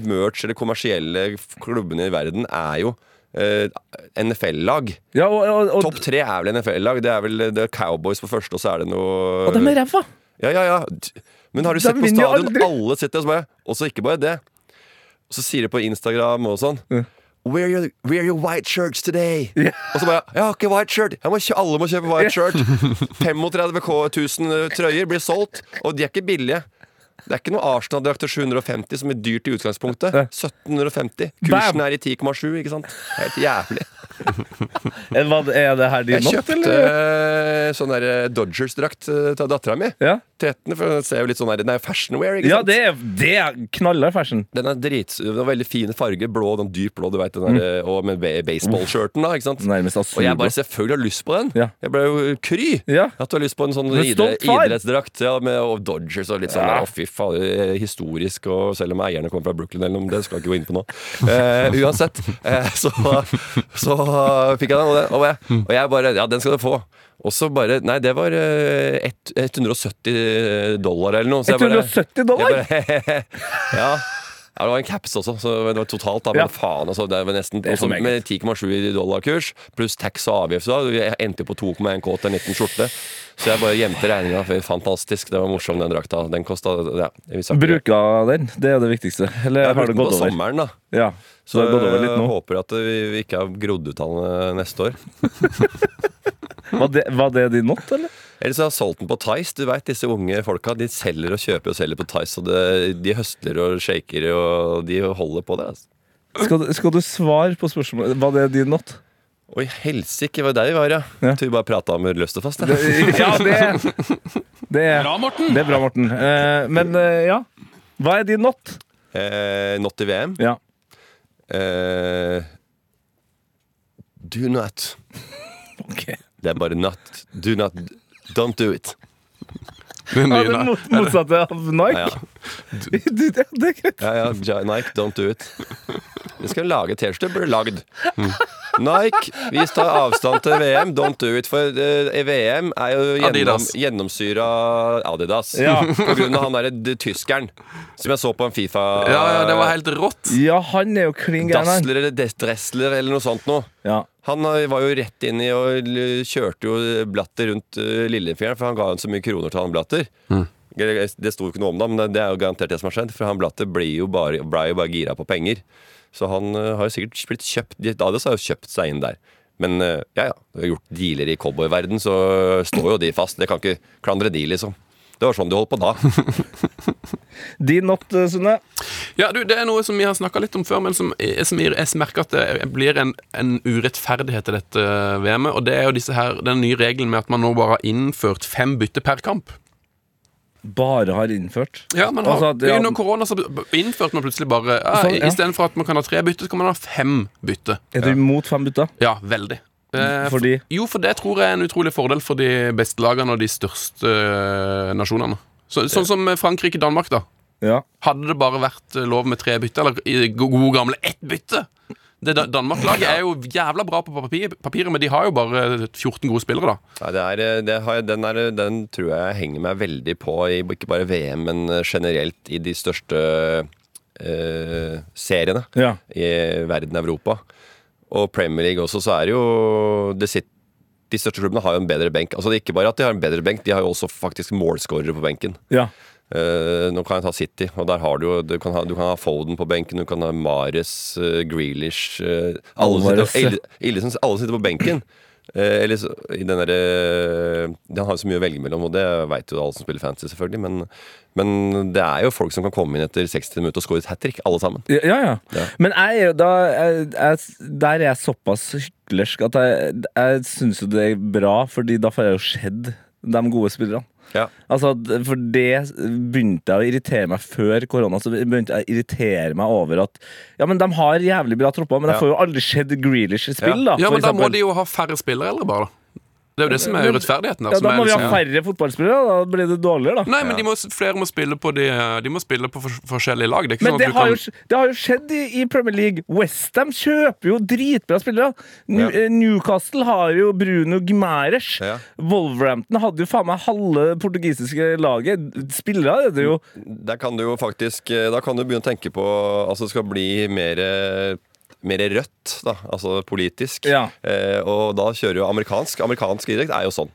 merch- eller kommersielle klubbene i verden er jo eh, NFL-lag.
Ja, og, og, og,
Topp tre er vel NFL-lag. Det er vel det er Cowboys på første, og så er det noe
og de er ræva!
ja, ja, ja. Men har du
De
sett på
vinner jo
stadion?
aldri.
Alle sitter og så bare Og så ikke bare det. Og så sier de på Instagram og sånn Wear your, wear your white shirts today.
Ja.
Og så bare Jeg har ikke white shirt! Jeg må kjø alle må kjøpe white shirt! 35 K 1000 trøyer blir solgt, og de er ikke billige. Det er ikke noe Arsenal-drakt til 750 som er dyrt i utgangspunktet. 1750. Kursen
Bam.
er i 10,7, ikke sant? Helt jævlig.
Eh, Hva, er det her din
Jeg
not,
kjøpte
eller?
eh, sånn der eh, Dodgers-drakt eh, til dattera mi.
Ja,
13, for den ser jo litt sånn her Den er jo fashionwear, ikke
ja
sant?
det, er, det er knallhard fashion.
Den er drits, den har veldig fine farger, blå, den dyp blå, du vet den
Mm.
der, eh, Og med ba- baseballskjørten da, ikke sant?
Nærmest
Og jeg
asylblå.
bare selvfølgelig har lyst på den
Ja.
Jeg ble jo kry
Ja.
At du har lyst på en sånn
Men
idre,
stolt far.
idrettsdrakt ja, med, Og Dodgers og litt sånn
Ja.
Å fy faen, det er historisk og Selv om eierne kommer fra Brooklyn eller om det skal jeg ikke gå inn på nå eh, Uansett eh, så, så fikk jeg den og, det, og, jeg, og jeg bare, ja den skal du få og så bare, nei det var eh, ett- 170 dollar eller noe så jeg bare-
170 dollar?
Jeg bare, ja. ja, det var en caps også, så det var totalt da, men
Ja.
faen altså, det var nesten
er for
også
meget.
Med 10,7 i dollarkurs, pluss tax og avgift da, jeg endte på 2,1 k til 19 skjorte Så jeg bare gjemte regninga, for fantastisk, det var morsom den drakta Den kostet, ja, vi sa ikke-
Bruka den, det er det viktigste. Eller
Jeg
har
brukte
det
den på
gått over?
sommeren da eh,
Ja, så det har gått over litt nå.
håper at vi, vi ikke har grodd ut av den neste år eh,
Var det, var det din not, eller?
Eller så har jeg solgt den på Tice. Du vet, disse unge folka de selger og kjøper og selger på Tice. Og det, de høsler og shaker og de holder på det. Altså.
Skal, du- skal du svare på spørsmålet? Var det din not?
Oi, helsike, var det der vi var, ja?
Ja.
Til vi bare prata om løst og fast. Ja.
Ja, det, det, er,
Bra, Morten!
det er bra, Morten. Eh, men eh, ja. Hva er din not?
Eh, not i VM.
Ja.
Eh, do not.
Okay.
Det er bare not. Do not. Don't do it.
Den
Ja,
nye,
det er
da.
mot, motsatte av Nike.
Ja, ja.
Du, det, det er greit.
Ja, ja, Ja, Nike, don't do it. Vi skal lage T-skjorte, burde lagd. Hm. Nike, vi tar avstand til VM, don't do it. For eh, VM er jo gjennom,
Adidas.
gjennomsyra Adidas.
Ja.
På grunn av han derre d- tyskeren som jeg så på en Fifa
Ja, ja, det var helt rått.
Ja, han er jo klin gæren. han.
Dassler eller des- Dressler eller noe sånt noe.
Ja.
Han eh, var jo rett inn i og l- kjørte jo Blatter rundt eh, lillefingeren, for han ga han så mye kroner til han Blatter. Det det sto ikke noe om det, men det- det er jo garantert det som har skjedd. For han Blatter ble jo bare, ble jo bare gira på penger. Så han eh, har jo sikkert blitt kjøpt de- Adidas har jo kjøpt seg inn der. Men eh, ja, ja. det er Gjort dealer i cowboyverden, så står jo de fast. Det kan ikke klandre de, liksom. Det var sånn de holdt på da.
Din not, eh, Sunne?
Ja, du, Det er noe som vi har snakka litt om før, men som, jeg- som jeg, jeg merker at det blir en, en urettferdighet i dette VM-et. Og det er jo disse her, den nye regelen med at man nå bare har innført fem bytte per kamp.
Bare har innført.
Ja, man har,
Altså at- ja.
Under korona så innførte man plutselig bare ja,
Sånn, ja.
Istedenfor at man kan ha tre bytte, så kan man ha fem bytte.
Er du imot fem bytter?
Ja, veldig. Eh, for-
Fordi?
Jo, for det tror jeg er en utrolig fordel for de beste lagene og de største eh, nasjonene. Så, sånn som Frankrike-Danmark, da.
Ja.
Hadde det bare vært eh, lov med tre bytte, eller i go- gode gamle ett bytte Det Da- Danmark-laget er jo jævla bra på papir, papiret, men de har jo bare 14 gode spillere, da.
Nei, det er, eh, det har jeg, den, er, den tror jeg henger meg veldig på i ikke bare VM, men eh, generelt i de største eh, seriene
Ja.
i verden og Europa. Og Premier League også, så er det jo det sitt, De største klubbene har jo en bedre benk. Altså det er Ikke bare at de har en bedre benk, de har jo også faktisk målskårere på benken.
ja.
Eh, nå kan jeg ta City, og der har du jo Du kan ha, du kan ha Foden på benken, du kan ha Mares, eh, Grealish eh, alle,
Alvarez,
sitter, Ill- Illesen, alle sitter på benken. Eh, eller så, i den derre Den har jo så mye å velge mellom, og det veit jo alle som spiller fantasy, selvfølgelig, men, men det er jo folk som kan komme inn etter 60 minutter og score et hat trick, alle sammen.
Ja, ja, ja.
Ja.
Men jeg er jo da jeg, jeg, Der er jeg såpass hyklersk at jeg, jeg syns jo det er bra, Fordi da får jeg jo sett de gode spillerne.
Ja.
Altså, d- for det begynte jeg å irritere meg før korona. Så begynte jeg å irritere meg over at Ja, men de har jævlig bra tropper, men
Ja.
jeg får jo aldri sett Grealish i spill, da.
Ja,
for
men da må
eksempel.
de jo ha færre spillere, eller bare, da. Det er jo det som er
Men-
urettferdigheten.
ja,
som
da
er
må vi ha
liksom-
færre fotballspillere, da blir det dårligere, da.
Nei, men de må, flere må spille på, de, de må spille på fors- forskjellige lag. Det er ikke
Men
sånn
det
at du
har,
kan
jo, sk- det har jo skjedd i, i Premier League. Westham kjøper jo dritbra spillere. New,
Ja.
eh, Newcastle har jo Bruno Gmæres.
Ja.
Wolverhampton hadde jo faen meg halve portugisiske laget. Spillere er det jo.
Der kan du jo faktisk eh, Da kan du begynne å tenke på Altså det skal bli mer eh, mer rødt, da, altså politisk.
Ja.
Eh, og da kjører jo amerikansk. Amerikansk idrett er jo sånn.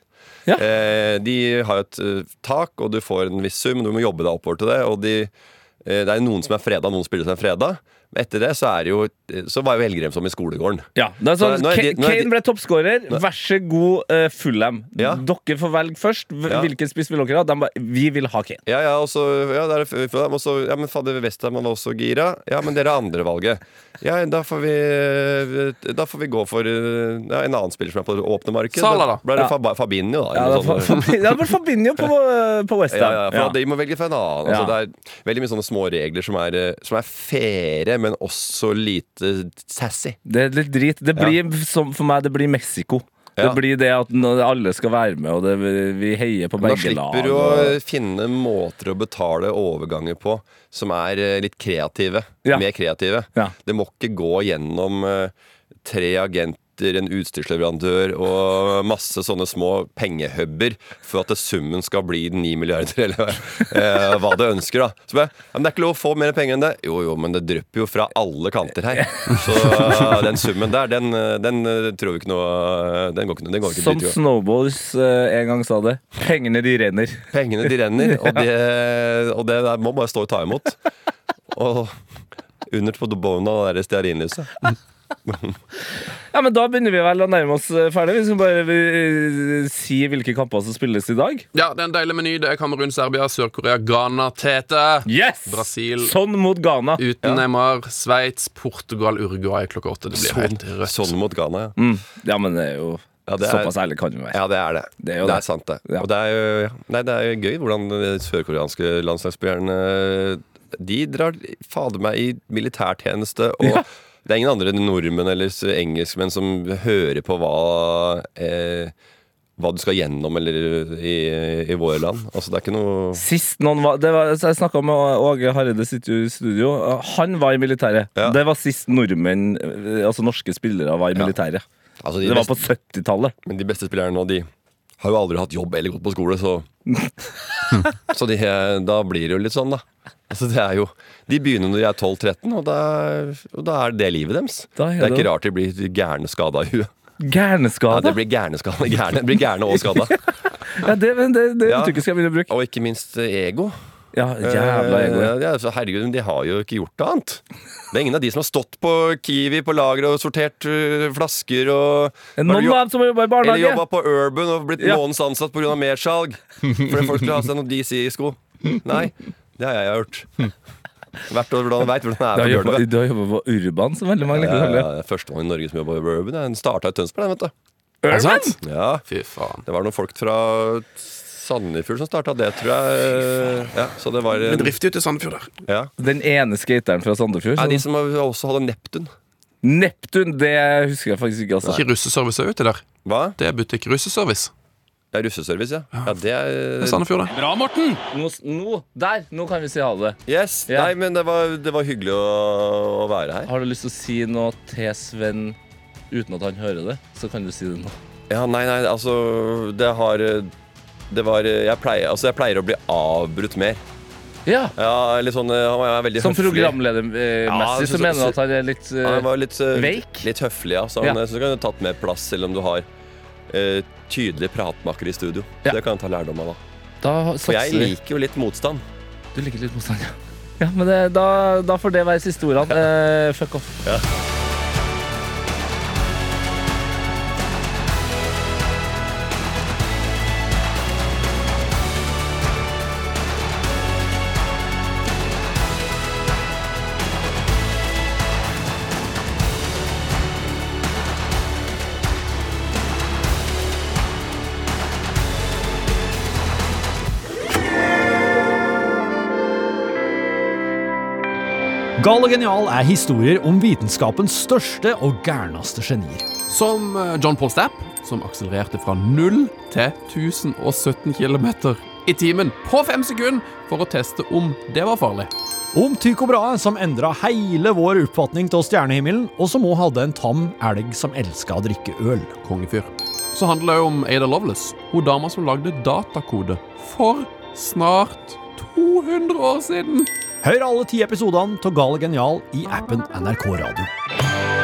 Ja.
Eh, de har jo et eh, tak, og du får en viss sum, du må jobbe deg oppover til det. Og de, eh, det er noen som er freda, noen spiller som er freda. Men etter det så, er det jo, eh, så var jo Elgrem som i skolegården.
Ja, det er sånn,
Nå er- nå er
Ka-
de- nå er de-
Kane ble toppskårer. Vær så god, eh, Fulham.
Ja.
Dere får velge først. Hv-
Ja.
Hvilken spiss vil dere ha? De bare, vi vil ha Kane.
Ja, ja, og så ja, der, er f- f- og så- ja, men fader, Westham var også gira. Ja, men dere er andrevalget. Ja, da får vi Da får vi gå for eh, ja, en annen spiller som er på det åpne marked.
Salah, da.
Ble det
Ja.
Fab Fabinho, da?
Ja,
eller
det
noe
var
sånt.
Fabinho ja, det var Fabinho på, eh, på
Ja,
Westham.
ja, for De må velge fra en annen. Altså,
Ja.
Det er veldig mye sånne små regler som er, eh, som er fere, men også lite sassy.
Det er litt drit. Det blir, som for meg, det blir Mexico.
Ja.
Det blir det at nå- alle skal være med, og det, vi heier på
Da
begge lag.
slipper du
og-
å eh, finne måter å betale overganger på som er eh, litt kreative.
Ja.
Mer kreative.
Ja.
Det må ikke gå gjennom eh, tre agenter, en utstyrsleverandør og masse sånne små pengehubber for at det summen skal bli 9 milliarder, eller eh, hva du ønsker. da. Så bare, ja, men Det er ikke lov å få mer penger enn det. Jo, jo, men det drypper jo fra alle kanter her. Så eh, den summen der, den, eh, den eh, tror vi ikke noe eh, Den går ikke, den går ikke
Som
dit, jo.
Snowballs eh, en gang sa det. Pengene de renner.
Pengene de renner, og det, og det der må bare stå og ta imot. Og under på bona det der stearinlyset.
Ja, men Da begynner vi vel å nærme oss eh, ferdig. Vi skal bare eh, si hvilke kamper som spilles i dag.
Ja, det er en deilig meny. Det er Kamerun, Serbia, Sør-Korea, Ghana, Tete.
Yes!
Brasil.
Sånn mot Ghana.
Uten Neymar, Sveits, Portugal, Uruguay klokka åtte. Det blir helt
Sånn,
rødt.
sånn mot Ghana, ja.
Mm. Ja, men det er jo
Ja, det er-
Såpass ærlig kan vi være.
Ja, det er det.
Det er jo det.
er sant, det.
Ja.
Og det er jo ja. Nei, det er jo gøy hvordan de sørkoreanske landslagsspillerne De drar fader meg i militærtjeneste, og det er ingen andre nordmenn eller s- engelskmenn som hører på hva eh, hva du skal gjennom eller i, i våre land. Altså, det er ikke noe
Sist noen var, det var så Jeg snakka med Åge Hareide, sitter jo i studio. Han var i militæret.
Ja.
Det var sist nordmenn, eh, altså norske spillere, var i militæret.
altså, de,
Det var på
beste,
70-tallet.
men de beste spillerne nå, de har jo aldri hatt jobb eller gått på skole, så Så de, da blir det jo litt sånn, da. Altså, det er jo, de begynner når de er 12-13, og, da- og da er det livet deres.
Da er
det er
det-
ikke rart de blir gærne skada i huet. Ja,
Gærneskade.
de blir gærne, skada, gærne, de blir gærne og skada.
Ja, det, men det, det
Ja.
uttrykket skal jeg begynne å bruke.
Og ikke minst eh, ego.
Ja, jævla ego.
Eh, Ja, så herregud, men de har jo ikke gjort noe annet. Det er ingen av de som har stått på Kiwi på lageret og sortert eh, flasker og
Noen av dem som har jobba i
Eller
barnehage.
jobba på Urban og blitt
Ja.
månedens ansatt pga. mersalg. Fordi folk skulle ha seg noen DC-sko. Nei, det har jeg gjort. Hvert år hvordan veit hvordan det
Du
er
har
på
jobba
gulvet.
du har jobbet på Urban, som veldig mange
Ja,
liker å
ja,
kalle det.
ja, Første gang i Norge som jobba på Urban. Den starta i Tønsberg, den, vet
Er det sant?
du. Ja,
Fy faen.
det var noen folk fra Sandefjord som starta det, tror jeg. Ja, så det var
Vi drifter jo til Sandefjord der.
ja.
Den ene skateren fra Sandefjord.
Nei,
som-
de som også hadde Neptun.
Neptun, det husker jeg faktisk ikke. Altså.
Ikke russeservice er ute der.
Hva?
Det er butikk russeservice.
Det er russeservice, ja. ja det
Det er
er
Sandefjord, det.
Eh, Bra, Morten! Nå, nå, der, nå kan vi si ha det.
Yes!
Ja.
Nei, men det var, det var hyggelig å, å være her.
Har du lyst til å si noe til Sven uten at han hører det, så kan du si det nå.
Ja, nei, nei, altså Det har Det var Jeg pleier, altså, jeg pleier å bli avbrutt mer.
Ja,
Ja, litt sånn eh, Han er veldig
Som
høflig.
programledermessig
Ja,
så,
så-
mener du
så-
at han er litt eh,
Ja, Han var litt, eh,
Veik?
litt høflig, ja. Så
Ja.
han, jeg synes han kunne tatt mer plass, selv om du har eh, tydelig pratmakker i studio.
Ja.
Det kan jeg ta lærdom av. da
eh, Da
For jeg
satser vi.
liker jo litt motstand.
Du liker litt motstand, ja. Ja, men det, da, da får det være siste ordene. Eh, fuck off.
Gal og genial er historier om vitenskapens største og gærneste genier.
Som eh, John Paul Stapp, som akselererte fra 0 til 1017 km i timen på fem sekunder for å teste om det var farlig.
Om Tycho Brahe, som endra hele vår oppfatning av stjernehimmelen, og som òg hadde en tam elg som elska å drikke øl.
Kongefyr. Så handler det jo om Ada Lovelace, hun dama som lagde datakode for snart 200 år siden.
Hør alle ti episodene av Gal og genial i appen NRK Radio.